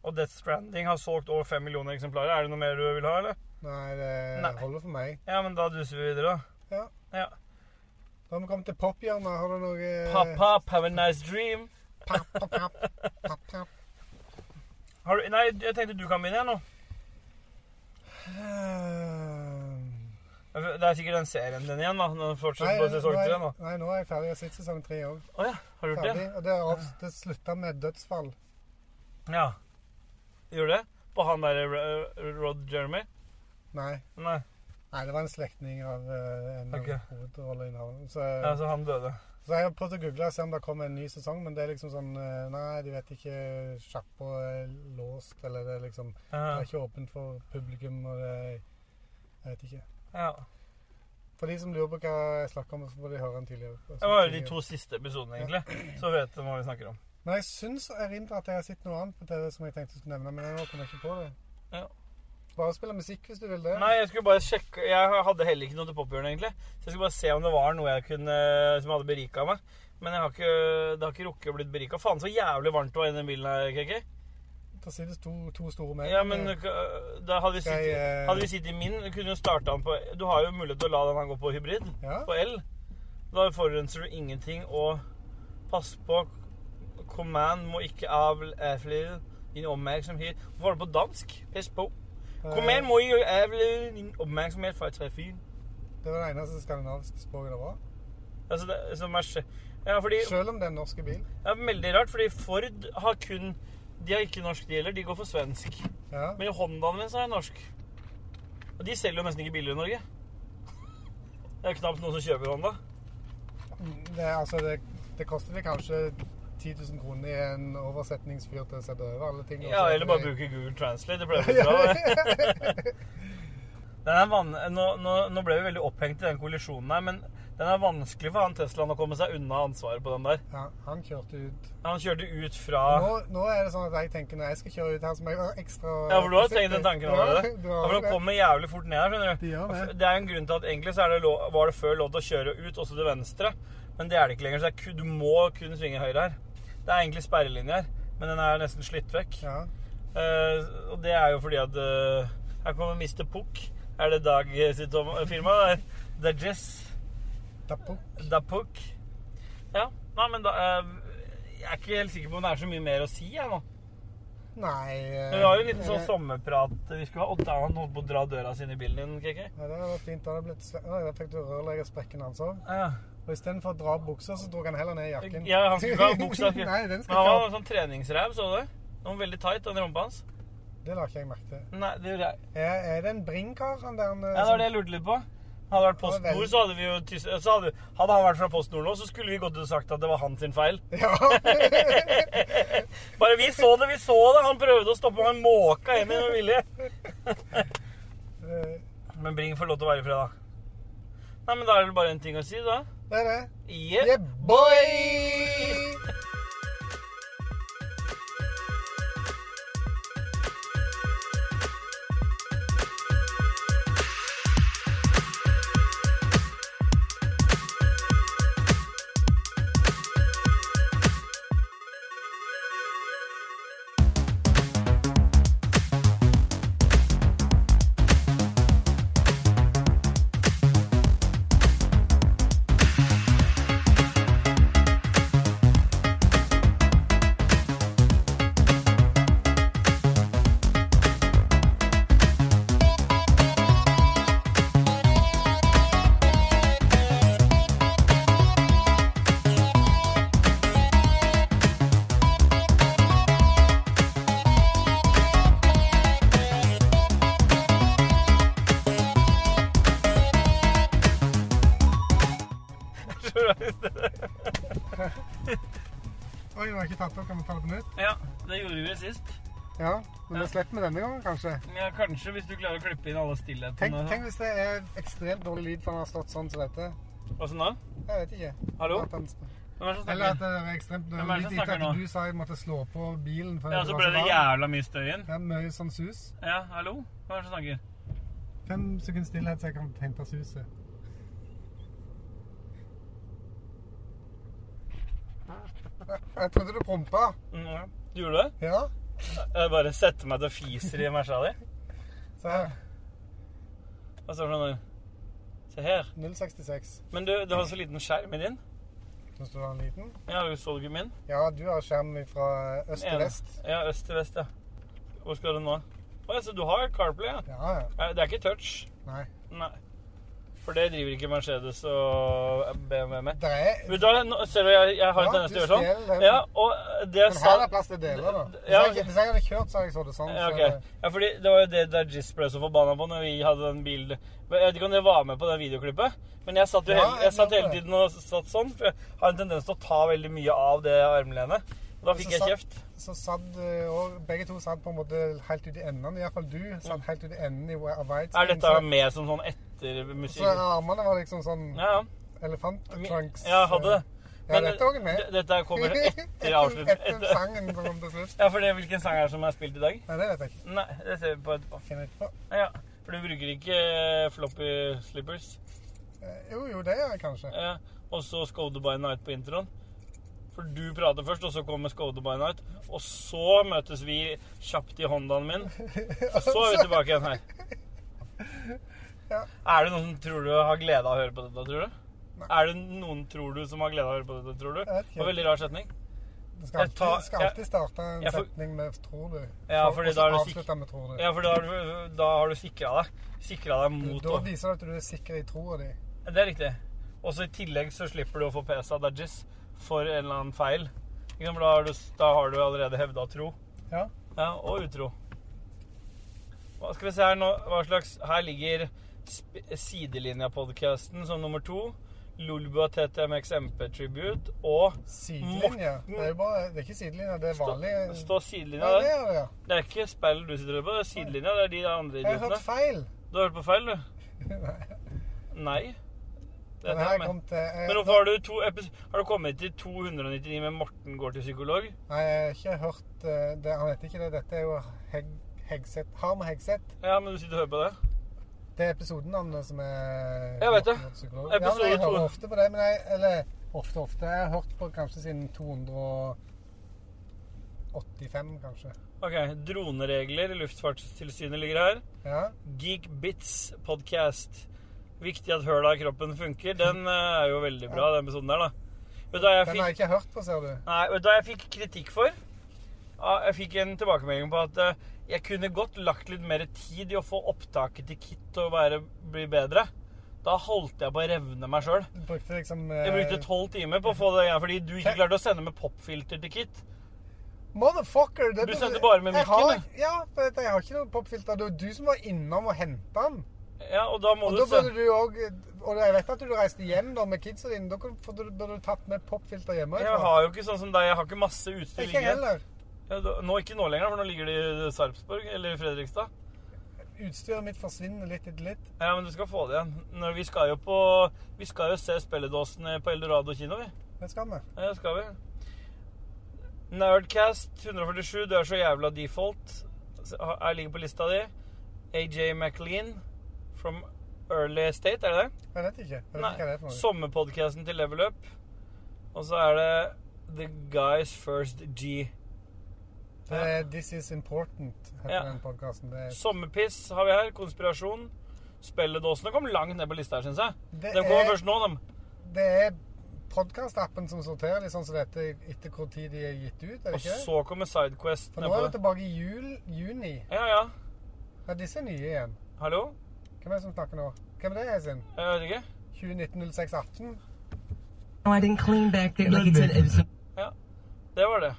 [SPEAKER 2] Og Death Stranding har solgt over fem millioner eksemplarer. Er det noe mer du vil ha, eller?
[SPEAKER 1] Nei, det
[SPEAKER 2] Nei.
[SPEAKER 1] holder for meg.
[SPEAKER 2] Ja, men da duser vi videre, da.
[SPEAKER 1] Ja. Da har vi kommet til pophjørnet. Har du noe
[SPEAKER 2] Pop, pop, have a nice dream.
[SPEAKER 1] Papp, papp, papp, papp, papp.
[SPEAKER 2] Har du, nei, jeg tenkte du kan begynne, jeg, nå.
[SPEAKER 1] Eh,
[SPEAKER 2] Det er sikkert den serien din igjen, da. Den
[SPEAKER 1] Nei,
[SPEAKER 2] fortsetter
[SPEAKER 1] nå
[SPEAKER 2] på sesong
[SPEAKER 1] er,
[SPEAKER 2] tre, nå.
[SPEAKER 1] nei, nå er jeg ferdig. Jeg har sett sesong tre òg.
[SPEAKER 2] Å ja, har du gjort det?
[SPEAKER 1] Ferdig. Og det, er av- det slutta med dødsfall.
[SPEAKER 2] Ja. Gjør det? På han derre Ro- eh, Rod Jeremy?
[SPEAKER 1] Nei.
[SPEAKER 2] Nei,
[SPEAKER 1] nei, det var en slektning av eh, en
[SPEAKER 2] Ok.
[SPEAKER 1] okay. hovedrolleinnehaver. Så,
[SPEAKER 2] altså han døde.
[SPEAKER 1] så jeg har prøvd å google og se om det kommer en ny sesong, men det er liksom sånn eh, Nei, de vet ikke. Sjappa er låst, eller det er liksom Det
[SPEAKER 2] Ja.
[SPEAKER 1] er ikke åpent for publikum, og det er Jeg vet ikke.
[SPEAKER 2] ja.
[SPEAKER 1] For de som lurer på hva jeg snakker om, så får de høre en tidligere.
[SPEAKER 2] Det var jo de to siste episodene, egentlig. Så vet du hva vi snakker om.
[SPEAKER 1] Men jeg syns jeg erindrer at jeg har sett noe annet på TV som jeg tenkte jeg skulle nevne, men nå kommer jeg ikke på det.
[SPEAKER 2] Ja.
[SPEAKER 1] Bare spille musikk hvis du vil det.
[SPEAKER 2] Nei, jeg skulle bare sjekke Jeg hadde heller ikke noe til pophjørnet, egentlig. Så jeg skulle bare se om det var noe jeg kunne som hadde berika meg. Men jeg har ikke, det har ikke rukket å bli berika. Faen, så jævlig varmt det var i den bilen her, KK.
[SPEAKER 1] Det til sides to, to store mer.
[SPEAKER 2] Ja, men
[SPEAKER 1] Eh,
[SPEAKER 2] øh, da hadde vi
[SPEAKER 1] Skal jeg,
[SPEAKER 2] sittet,
[SPEAKER 1] eh,
[SPEAKER 2] hadde vi sittet i min, kunne jo starta den på Du har jo mulighet til å la den her gå på hybrid,
[SPEAKER 1] Eh, Ja.
[SPEAKER 2] på el. Da forurenser du ingenting, og pass på Command må ikke avl avle din oppmerksomhet Hvorfor var det på dansk? Pass på.
[SPEAKER 1] Eh.
[SPEAKER 2] Command må ikke avle din oppmerksomhet fra trafikken.
[SPEAKER 1] Eh, Det var det eneste skandinaviske språket det var.
[SPEAKER 2] Altså, det som er skje- Ja, fordi
[SPEAKER 1] Selv om det er en norsk bil.
[SPEAKER 2] Det er veldig rart, fordi Ford har kun De har ikke norsk, de heller. De går for svensk.
[SPEAKER 1] Ja.
[SPEAKER 2] Men Hondaen min så er norsk. Og de selger jo nesten ikke biler i Norge. Det er jo knapt noen som kjøper Honda.
[SPEAKER 1] Det, er altså, det, det koster vel kanskje 10 000 kroner i en oversetningsfyr til å sette over alle ting. og
[SPEAKER 2] Ja,
[SPEAKER 1] så-
[SPEAKER 2] Eller bare bruke Google Translate. Det ble
[SPEAKER 1] (laughs)
[SPEAKER 2] jo bra. det. Den er van nå, nå, nå ble vi veldig opphengt i den kollisjonen her, men den er vanskelig for han Teslaen å komme seg unna ansvaret på den der.
[SPEAKER 1] Ja, han kjørte ut.
[SPEAKER 2] Han kjørte ut fra
[SPEAKER 1] Nå, nå er det sånn at jeg tenker når jeg skal kjøre ut her, så må jeg være ekstra
[SPEAKER 2] Ja, for du har tenkt den tanken allerede.
[SPEAKER 1] Ja, du
[SPEAKER 2] Ja,
[SPEAKER 1] har
[SPEAKER 2] for de
[SPEAKER 1] det.
[SPEAKER 2] kommer jævlig fort ned her, skjønner du.
[SPEAKER 1] De gjør det.
[SPEAKER 2] Det er jo en grunn til at egentlig så er det lov, var det før lov til å kjøre ut, også til venstre. Men det er det ikke lenger, så det er, ku- du må kun svinge høyre her. Det er egentlig sperrelinje her, men den er nesten slitt vekk.
[SPEAKER 1] Ja.
[SPEAKER 2] Eh, og det er jo fordi at eh, Her kommer Mr. Pukk. Er det Dag eh, sitt om- eh, firma? Det er- Det er Jess.
[SPEAKER 1] Dapo.
[SPEAKER 2] Det er Pukk. Ja. Nei, men da eh, Jeg er ikke helt sikker på om det er så mye mer å si, jeg nå.
[SPEAKER 1] Nei eh,
[SPEAKER 2] Men Vi har jo en liten sånn
[SPEAKER 1] eh,
[SPEAKER 2] sommerprat vi skulle ha. Og da han holdt på å dra døra sin i bilen din, KK.
[SPEAKER 1] Ja, det var fint. Da hadde blitt sve- Oi, da fikk du rørleggersprekken hans òg.
[SPEAKER 2] Ja.
[SPEAKER 1] Og istedenfor å dra opp buksa, så dro han heller ned jakken.
[SPEAKER 2] Ja, han skulle ikke ha
[SPEAKER 1] (laughs)
[SPEAKER 2] buksa.
[SPEAKER 1] Nei, den
[SPEAKER 2] Men han
[SPEAKER 1] skal
[SPEAKER 2] var
[SPEAKER 1] ikke ha.
[SPEAKER 2] en sånn treningsræv, så du det? Den var veldig tight, den rumpa hans.
[SPEAKER 1] Det la ikke jeg merke til.
[SPEAKER 2] Nei, det gjorde jeg.
[SPEAKER 1] Er, er det en Bring-kar, han der? han, eh,
[SPEAKER 2] Ja, det var det jeg lurte litt på. Hadde det vært
[SPEAKER 1] Ja, det var
[SPEAKER 2] PostNord, så hadde vi jo tys- så hadde, hadde han vært fra PostNord nå, så skulle vi gått ut og sagt at det var hans sin feil. (laughs)
[SPEAKER 1] Ja.
[SPEAKER 2] Bare vi så det, vi så det! Han prøvde å stoppe meg, måka hjem igjen med vilje.
[SPEAKER 1] Eh,
[SPEAKER 2] Men Bring får lov til å være i fred, da. Nei, men da er det bare en ting å si, da.
[SPEAKER 1] (laughs) det er det.
[SPEAKER 2] Yeah.
[SPEAKER 1] Yeah, boy!
[SPEAKER 2] (laughs)
[SPEAKER 1] Oi, vi har ikke tatt opp. Kan vi ta det på nytt?
[SPEAKER 2] Ja, det gjorde vi sist.
[SPEAKER 1] Ja, men da slipper vi denne gangen, kanskje.
[SPEAKER 2] Men ja, kanskje hvis du klarer å klippe inn alle
[SPEAKER 1] Tenk,
[SPEAKER 2] stillhetene.
[SPEAKER 1] tenk hvis det er ekstremt dårlig lyd for han har stått sånn som dette.
[SPEAKER 2] Åssen da?
[SPEAKER 1] Jeg vet ikke.
[SPEAKER 2] Hallo?
[SPEAKER 1] At han-
[SPEAKER 2] Hvem er det som
[SPEAKER 1] Eller at
[SPEAKER 2] snakker?
[SPEAKER 1] det er ekstremt
[SPEAKER 2] Hvem er
[SPEAKER 1] dårlig
[SPEAKER 2] det som
[SPEAKER 1] lyd etter
[SPEAKER 2] snakker nå?
[SPEAKER 1] at du sa jeg måtte slå på bilen. For
[SPEAKER 2] Ja, så ble det
[SPEAKER 1] varmt.
[SPEAKER 2] jævla mye støy igjen.
[SPEAKER 1] Det er mye sånn sus.
[SPEAKER 2] Ja, hallo? Hvem er det som snakker?
[SPEAKER 1] Fem sekunder stillhet, så jeg kan hente suset. Jeg trodde du prompa.
[SPEAKER 2] Mm, du gjorde det?
[SPEAKER 1] Ja,
[SPEAKER 2] Jeg bare setter meg til og fiser i mersa di.
[SPEAKER 1] se her.
[SPEAKER 2] Hva står det nå? Se her.
[SPEAKER 1] 066.
[SPEAKER 2] Men du, du har så liten skjerm i din.
[SPEAKER 1] Syns du det var en liten?
[SPEAKER 2] Ja, du så du ikke min?
[SPEAKER 1] Ja, du har skjerm fra øst til
[SPEAKER 2] En-
[SPEAKER 1] vest.
[SPEAKER 2] Ja, øst til vest, ja. Hvor skal du nå? Å, ja, så du har CarPlay, ja.
[SPEAKER 1] Ja, ja.
[SPEAKER 2] Nei, Det er ikke touch.
[SPEAKER 1] Nei.
[SPEAKER 2] Nei. For det driver ikke Mercedes og BMW med.
[SPEAKER 1] Det er
[SPEAKER 2] Vet du hva, nå- ser du, jeg, jeg har
[SPEAKER 1] Ja,
[SPEAKER 2] en tendens til å
[SPEAKER 1] du
[SPEAKER 2] gjøre
[SPEAKER 1] stjeler
[SPEAKER 2] sånn.
[SPEAKER 1] den.
[SPEAKER 2] Ja, og det jeg
[SPEAKER 1] Men her
[SPEAKER 2] sa...
[SPEAKER 1] er plass til deler, da. Hvis
[SPEAKER 2] Ja,
[SPEAKER 1] jeg, hvis jeg hadde kjørt, så hadde jeg så det sånn.
[SPEAKER 2] Ja,
[SPEAKER 1] så-
[SPEAKER 2] ok. ja, fordi det var jo det der Jizz ble så forbanna på når vi hadde den bilen Jeg vet ikke om det var med på det videoklippet, men jeg satt jo
[SPEAKER 1] Ja,
[SPEAKER 2] hele, jeg
[SPEAKER 1] jeg
[SPEAKER 2] satt
[SPEAKER 1] gjorde
[SPEAKER 2] hele
[SPEAKER 1] det.
[SPEAKER 2] tiden og satt sånn. For jeg har en tendens til å ta veldig mye av det armlenet. Og da
[SPEAKER 1] Så
[SPEAKER 2] fikk jeg
[SPEAKER 1] satt-
[SPEAKER 2] kjeft.
[SPEAKER 1] Så satt eh, og begge to satt på en måte helt ut i enden. Iallfall du satt helt ut i enden i wi- av white
[SPEAKER 2] Mm. Er dette
[SPEAKER 1] så,
[SPEAKER 2] med som sånn
[SPEAKER 1] så
[SPEAKER 2] ettermusikk?
[SPEAKER 1] armene var liksom sånn
[SPEAKER 2] Ja, ja. Mi-
[SPEAKER 1] elefanttrunks. eh,
[SPEAKER 2] Ja, jeg hadde det.
[SPEAKER 1] Ja, dette er også med.
[SPEAKER 2] d- Dette kommer
[SPEAKER 1] (laughs)
[SPEAKER 2] etter avslutningen.
[SPEAKER 1] Etter sangen som kom til slutt.
[SPEAKER 2] Ja, for det, hvilken sang er det som er spilt i dag?
[SPEAKER 1] Nei, det vet jeg ikke.
[SPEAKER 2] Nei, det ser vi på etterpå.
[SPEAKER 1] Finner jeg ikke på.
[SPEAKER 2] Ja, For du bruker ikke floppy slippers?
[SPEAKER 1] Eh, Jo, jo, det gjør jeg kanskje.
[SPEAKER 2] Ja, og så Skoda by Night på introen. For For du prater først, og så kommer Skåde by night. Og så møtes vi kjapt i Hondaen min. Og så er vi tilbake igjen her.
[SPEAKER 1] Ja.
[SPEAKER 2] Er det noen som tror du har glede av å høre på dette, tror du?
[SPEAKER 1] Nei.
[SPEAKER 2] Er det noen tror du som har glede av å høre på dette, tror du?
[SPEAKER 1] Jeg vet ikke.
[SPEAKER 2] Det var veldig rar setning.
[SPEAKER 1] Du skal
[SPEAKER 2] Jeg tar-
[SPEAKER 1] alltid, skal alltid
[SPEAKER 2] jeg-
[SPEAKER 1] starte en
[SPEAKER 2] jeg får-
[SPEAKER 1] setning med 'tror du',
[SPEAKER 2] Ja,
[SPEAKER 1] og-
[SPEAKER 2] fordi
[SPEAKER 1] og
[SPEAKER 2] da er
[SPEAKER 1] så
[SPEAKER 2] det
[SPEAKER 1] avslutte med 'tror du'.
[SPEAKER 2] Ja, for da har du, da har du sikra deg. Sikra deg mot
[SPEAKER 1] da
[SPEAKER 2] å
[SPEAKER 1] viser du at du er sikker i troa di.
[SPEAKER 2] Det er riktig. Og så i tillegg så slipper du å få PS av Dudgies for en eller annen feil. Ikke sant, for Da har du, da har du allerede hevda tro.
[SPEAKER 1] Ja.
[SPEAKER 2] Ja, og utro. Hva skal vi se her nå? Hva slags Her ligger sp- Sidelinja-podkasten som nummer to. Lolbua TTMX MP Tribute og
[SPEAKER 1] Sidelinje.
[SPEAKER 2] Morten-
[SPEAKER 1] Det er jo bare, det er ikke sidelinje, det er
[SPEAKER 2] Stå,
[SPEAKER 1] vanlig
[SPEAKER 2] stå
[SPEAKER 1] Ja,
[SPEAKER 2] sidelinja
[SPEAKER 1] det
[SPEAKER 2] der.
[SPEAKER 1] er det, ja.
[SPEAKER 2] Det er ikke speil du sitter på, det er sidelinja. Det er de andre
[SPEAKER 1] Jeg har hørt
[SPEAKER 2] idiotene.
[SPEAKER 1] feil. (laughs)
[SPEAKER 2] Du har hørt på feil, du? Nei. Det er
[SPEAKER 1] Den
[SPEAKER 2] det
[SPEAKER 1] her
[SPEAKER 2] jeg mener.
[SPEAKER 1] kom til eh, jeg,
[SPEAKER 2] Men hvorfor har du, to epis- har du kommet til 299 med Morten går til psykolog?
[SPEAKER 1] Nei, jeg har ikke hørt eh, det. Han heter ikke det. Dette er jo Heg, Hegseth. Harm Hegseth.
[SPEAKER 2] Ja, men du sitter og hører på det.
[SPEAKER 1] Det er episodenavnet som er
[SPEAKER 2] Jeg vet det.
[SPEAKER 1] Psykolog. Ja, men
[SPEAKER 2] Episode
[SPEAKER 1] jeg
[SPEAKER 2] to.
[SPEAKER 1] hører ofte på det. Men jeg, eller ofte, ofte. Jeg har hørt på kanskje siden 285, kanskje.
[SPEAKER 2] Ok, Droneregler i Luftfartstilsynet ligger her.
[SPEAKER 1] Ja.
[SPEAKER 2] Geekbits podcast. Viktig at høla i kroppen funker. Den eh, er jo veldig bra, den episoden der, da. Vet du hva jeg
[SPEAKER 1] Den har
[SPEAKER 2] fikk,
[SPEAKER 1] jeg ikke hørt på, ser du.
[SPEAKER 2] nei, vet du hva jeg fikk kritikk for? Ja, Jeg fikk en tilbakemelding på at eh, jeg kunne godt lagt litt mer tid i å få opptaket til Kit og være, bli bedre. Da holdt jeg på å revne meg sjøl.
[SPEAKER 1] Du brukte liksom
[SPEAKER 2] Jeg brukte
[SPEAKER 1] eh,
[SPEAKER 2] tolv timer på å få det igjen, fordi du ikke klarte å sende med popfilter til Kit.
[SPEAKER 1] Motherfucker! Det,
[SPEAKER 2] Du sendte bare med
[SPEAKER 1] jeg har-
[SPEAKER 2] mikken,
[SPEAKER 1] Ja, for dette- jeg har ikke noe popfilter. Det var du som var innom og henta den.
[SPEAKER 2] Ja, og da må
[SPEAKER 1] Og
[SPEAKER 2] du
[SPEAKER 1] da burde
[SPEAKER 2] se.
[SPEAKER 1] du òg Og jeg vet at du reiste hjem da med kidsa dine. Da kunne- for da burde du tatt med popfilter hjemme.
[SPEAKER 2] Jeg har jo ikke sånn som deg, jeg har ikke masse utstyr
[SPEAKER 1] Ikke jeg
[SPEAKER 2] liggende.
[SPEAKER 1] heller.
[SPEAKER 2] Ja, da- Nå, ikke nå lenger, for nå ligger det i Sarpsborg eller i Fredrikstad.
[SPEAKER 1] Utstyret mitt forsvinner litt etter litt.
[SPEAKER 2] Ja, men du skal få det igjen. Når vi skal jo på Vi skal jo se spilledåsene på Eldorado kino, vi.
[SPEAKER 1] Det skal vi.
[SPEAKER 2] Ja, det skal vi. Nerdcast 147, du er så jævla default. Jeg ligger på lista di. AJ McLean from Early State, er det det?
[SPEAKER 1] Jeg vet ikke. Jeg vet ikke hva det er for
[SPEAKER 2] Nei.
[SPEAKER 1] noe.
[SPEAKER 2] Sommerpodkasten til Level Up. Og så er det The Guys First G.
[SPEAKER 1] Det er This Is Important, heter
[SPEAKER 2] Ja.
[SPEAKER 1] den podkasten. Det, er-
[SPEAKER 2] Sommerpiss har vi her. Konspirasjon. Spelledåsene kom langt ned på lista her, syns jeg.
[SPEAKER 1] Det
[SPEAKER 2] de kommer
[SPEAKER 1] er-
[SPEAKER 2] først nå, de.
[SPEAKER 1] det er podkastappen som sorterer litt sånn som dette etter hvor tid de er gitt ut, er det
[SPEAKER 2] Og
[SPEAKER 1] ikke? det?
[SPEAKER 2] så kommer Sidequest
[SPEAKER 1] For nå
[SPEAKER 2] nedpå
[SPEAKER 1] er vi
[SPEAKER 2] der.
[SPEAKER 1] tilbake i jul, juni.
[SPEAKER 2] Ja, ja.
[SPEAKER 1] Ja, disse er nye igjen.
[SPEAKER 2] Hallo?
[SPEAKER 1] Hvem er det som snakker nå? Hvem er det, Esin?
[SPEAKER 2] Jeg vet ikke.
[SPEAKER 1] 2019-06-18?
[SPEAKER 4] No, I didn't clean back there. Like it's an, it's
[SPEAKER 2] Ja. Det var det.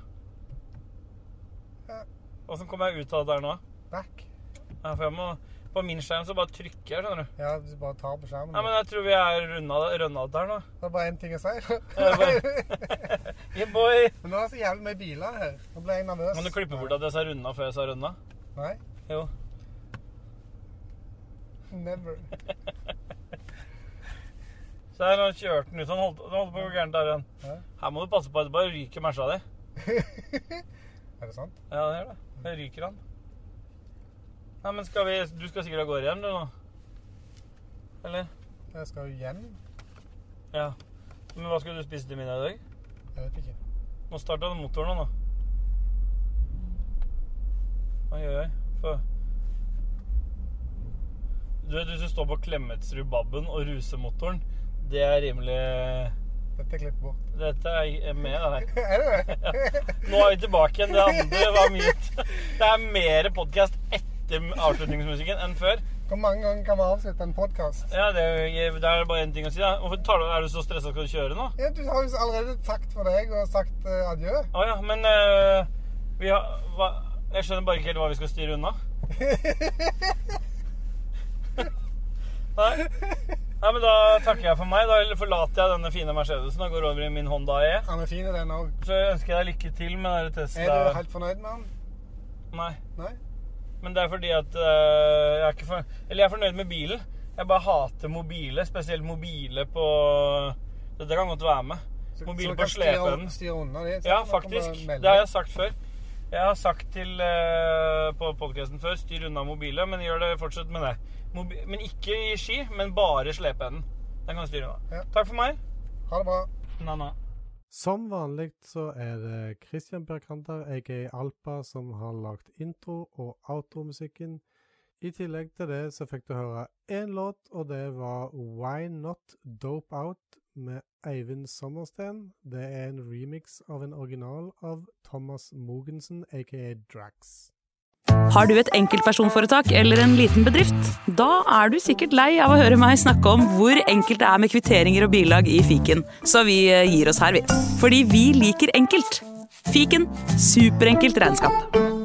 [SPEAKER 1] Ja.
[SPEAKER 2] Åssen kom jeg ut av det der nå?
[SPEAKER 1] Back?
[SPEAKER 2] Ja, for jeg må, på min skjerm så bare trykker jeg, skjønner du.
[SPEAKER 1] Ja, du bare tar på skjermen.
[SPEAKER 2] Nei, men jeg tror vi er runda runda ut der nå. (laughs)
[SPEAKER 1] Det er bare én ting å si.
[SPEAKER 2] Ja, det Yeah, boy!
[SPEAKER 1] (laughs) Men nå er det så jævlig mye biler her. Nå ble jeg nervøs.
[SPEAKER 2] Kan du klippe bort at jeg sa runda før jeg sa runda?
[SPEAKER 1] Nei.
[SPEAKER 2] Jo. (laughs)
[SPEAKER 1] Never.
[SPEAKER 2] Så her han kjørte den ut. Han holdt, han holdt på å gå gærent der igjen.
[SPEAKER 1] Ja.
[SPEAKER 2] Her må du passe på at det bare ryker mersa di.
[SPEAKER 1] (laughs) Er det sant?
[SPEAKER 2] Ja, det gjør det. Det ryker han. Nei, men skal vi Du skal sikkert av gårde igjen, du nå? Eller?
[SPEAKER 1] Jeg skal jo hjem.
[SPEAKER 2] Ja. Men hva skal du spise til middag i dag?
[SPEAKER 1] Jeg vet ikke.
[SPEAKER 2] Nå starta den motoren nå, da. Oi, oi, oi. Få. Du vet, hvis du står på Klemetsrud-babben og ruser motoren, det er rimelig
[SPEAKER 1] Dette er klippet bort. (laughs)
[SPEAKER 2] Dette er med, det her.
[SPEAKER 1] Er det (laughs) det?
[SPEAKER 2] Nå er vi tilbake igjen. Det andre var mute. Det er mer podkast etter avslutningsmusikken enn før.
[SPEAKER 1] Hvor mange ganger kan vi avslutte en podkast?
[SPEAKER 2] Ja, det er, jo- det er bare én ting å si. Da. Hvorfor tar du, er du så stressa? Skal du kjøre nå?
[SPEAKER 1] Ja, du har jo allerede sagt for deg og sagt eh, adjø. (laughs)
[SPEAKER 2] Å ja, men eh, vi har hva, Jeg skjønner bare ikke helt hva vi skal styre unna. Nei. Nei, men da takker jeg for meg. Da forlater jeg denne fine Mercedesen og går over i min Honda E.
[SPEAKER 1] Han er fin i den òg.
[SPEAKER 2] Så ønsker jeg deg lykke til med denne
[SPEAKER 1] Er du
[SPEAKER 2] Tesla.
[SPEAKER 1] helt fornøyd med han?
[SPEAKER 2] Nei.
[SPEAKER 1] Nei?
[SPEAKER 2] Men det er fordi at øh, jeg er ikke for... Eller jeg er fornøyd med bilen. Jeg bare hater mobile, spesielt mobile på Dette kan godt være med. Mobile på slepen.
[SPEAKER 1] Styre unna de. så
[SPEAKER 2] Ja,
[SPEAKER 1] kan man
[SPEAKER 2] faktisk.
[SPEAKER 1] melde.
[SPEAKER 2] Det har jeg sagt før. Jeg har sagt til øh, på podkasten før styr unna mobile, men gjør det fortsatt med det. Mobi men ikke i ski, men bare slepeenden. Den kan du styre unna.
[SPEAKER 1] Ja.
[SPEAKER 2] Takk for meg.
[SPEAKER 1] Ha det bra.
[SPEAKER 2] Na, na.
[SPEAKER 5] Som vanlig så er det Christian Berkanter, aka Alpa, som har lagd intro- og outromusikken. I tillegg til det så fikk du høre én låt, og det var Why Not Dope Out med Eivind Sommersten. Det er en remix av en original av Thomas Mogensen, aka Drax.
[SPEAKER 6] Har du et enkeltpersonforetak eller en liten bedrift? Da er du sikkert lei av å høre meg snakke om hvor enkelt det er med kvitteringer og bilag i fiken, så vi eh, gir oss her, vi. Fordi vi liker enkelt. Fiken superenkelt regnskap.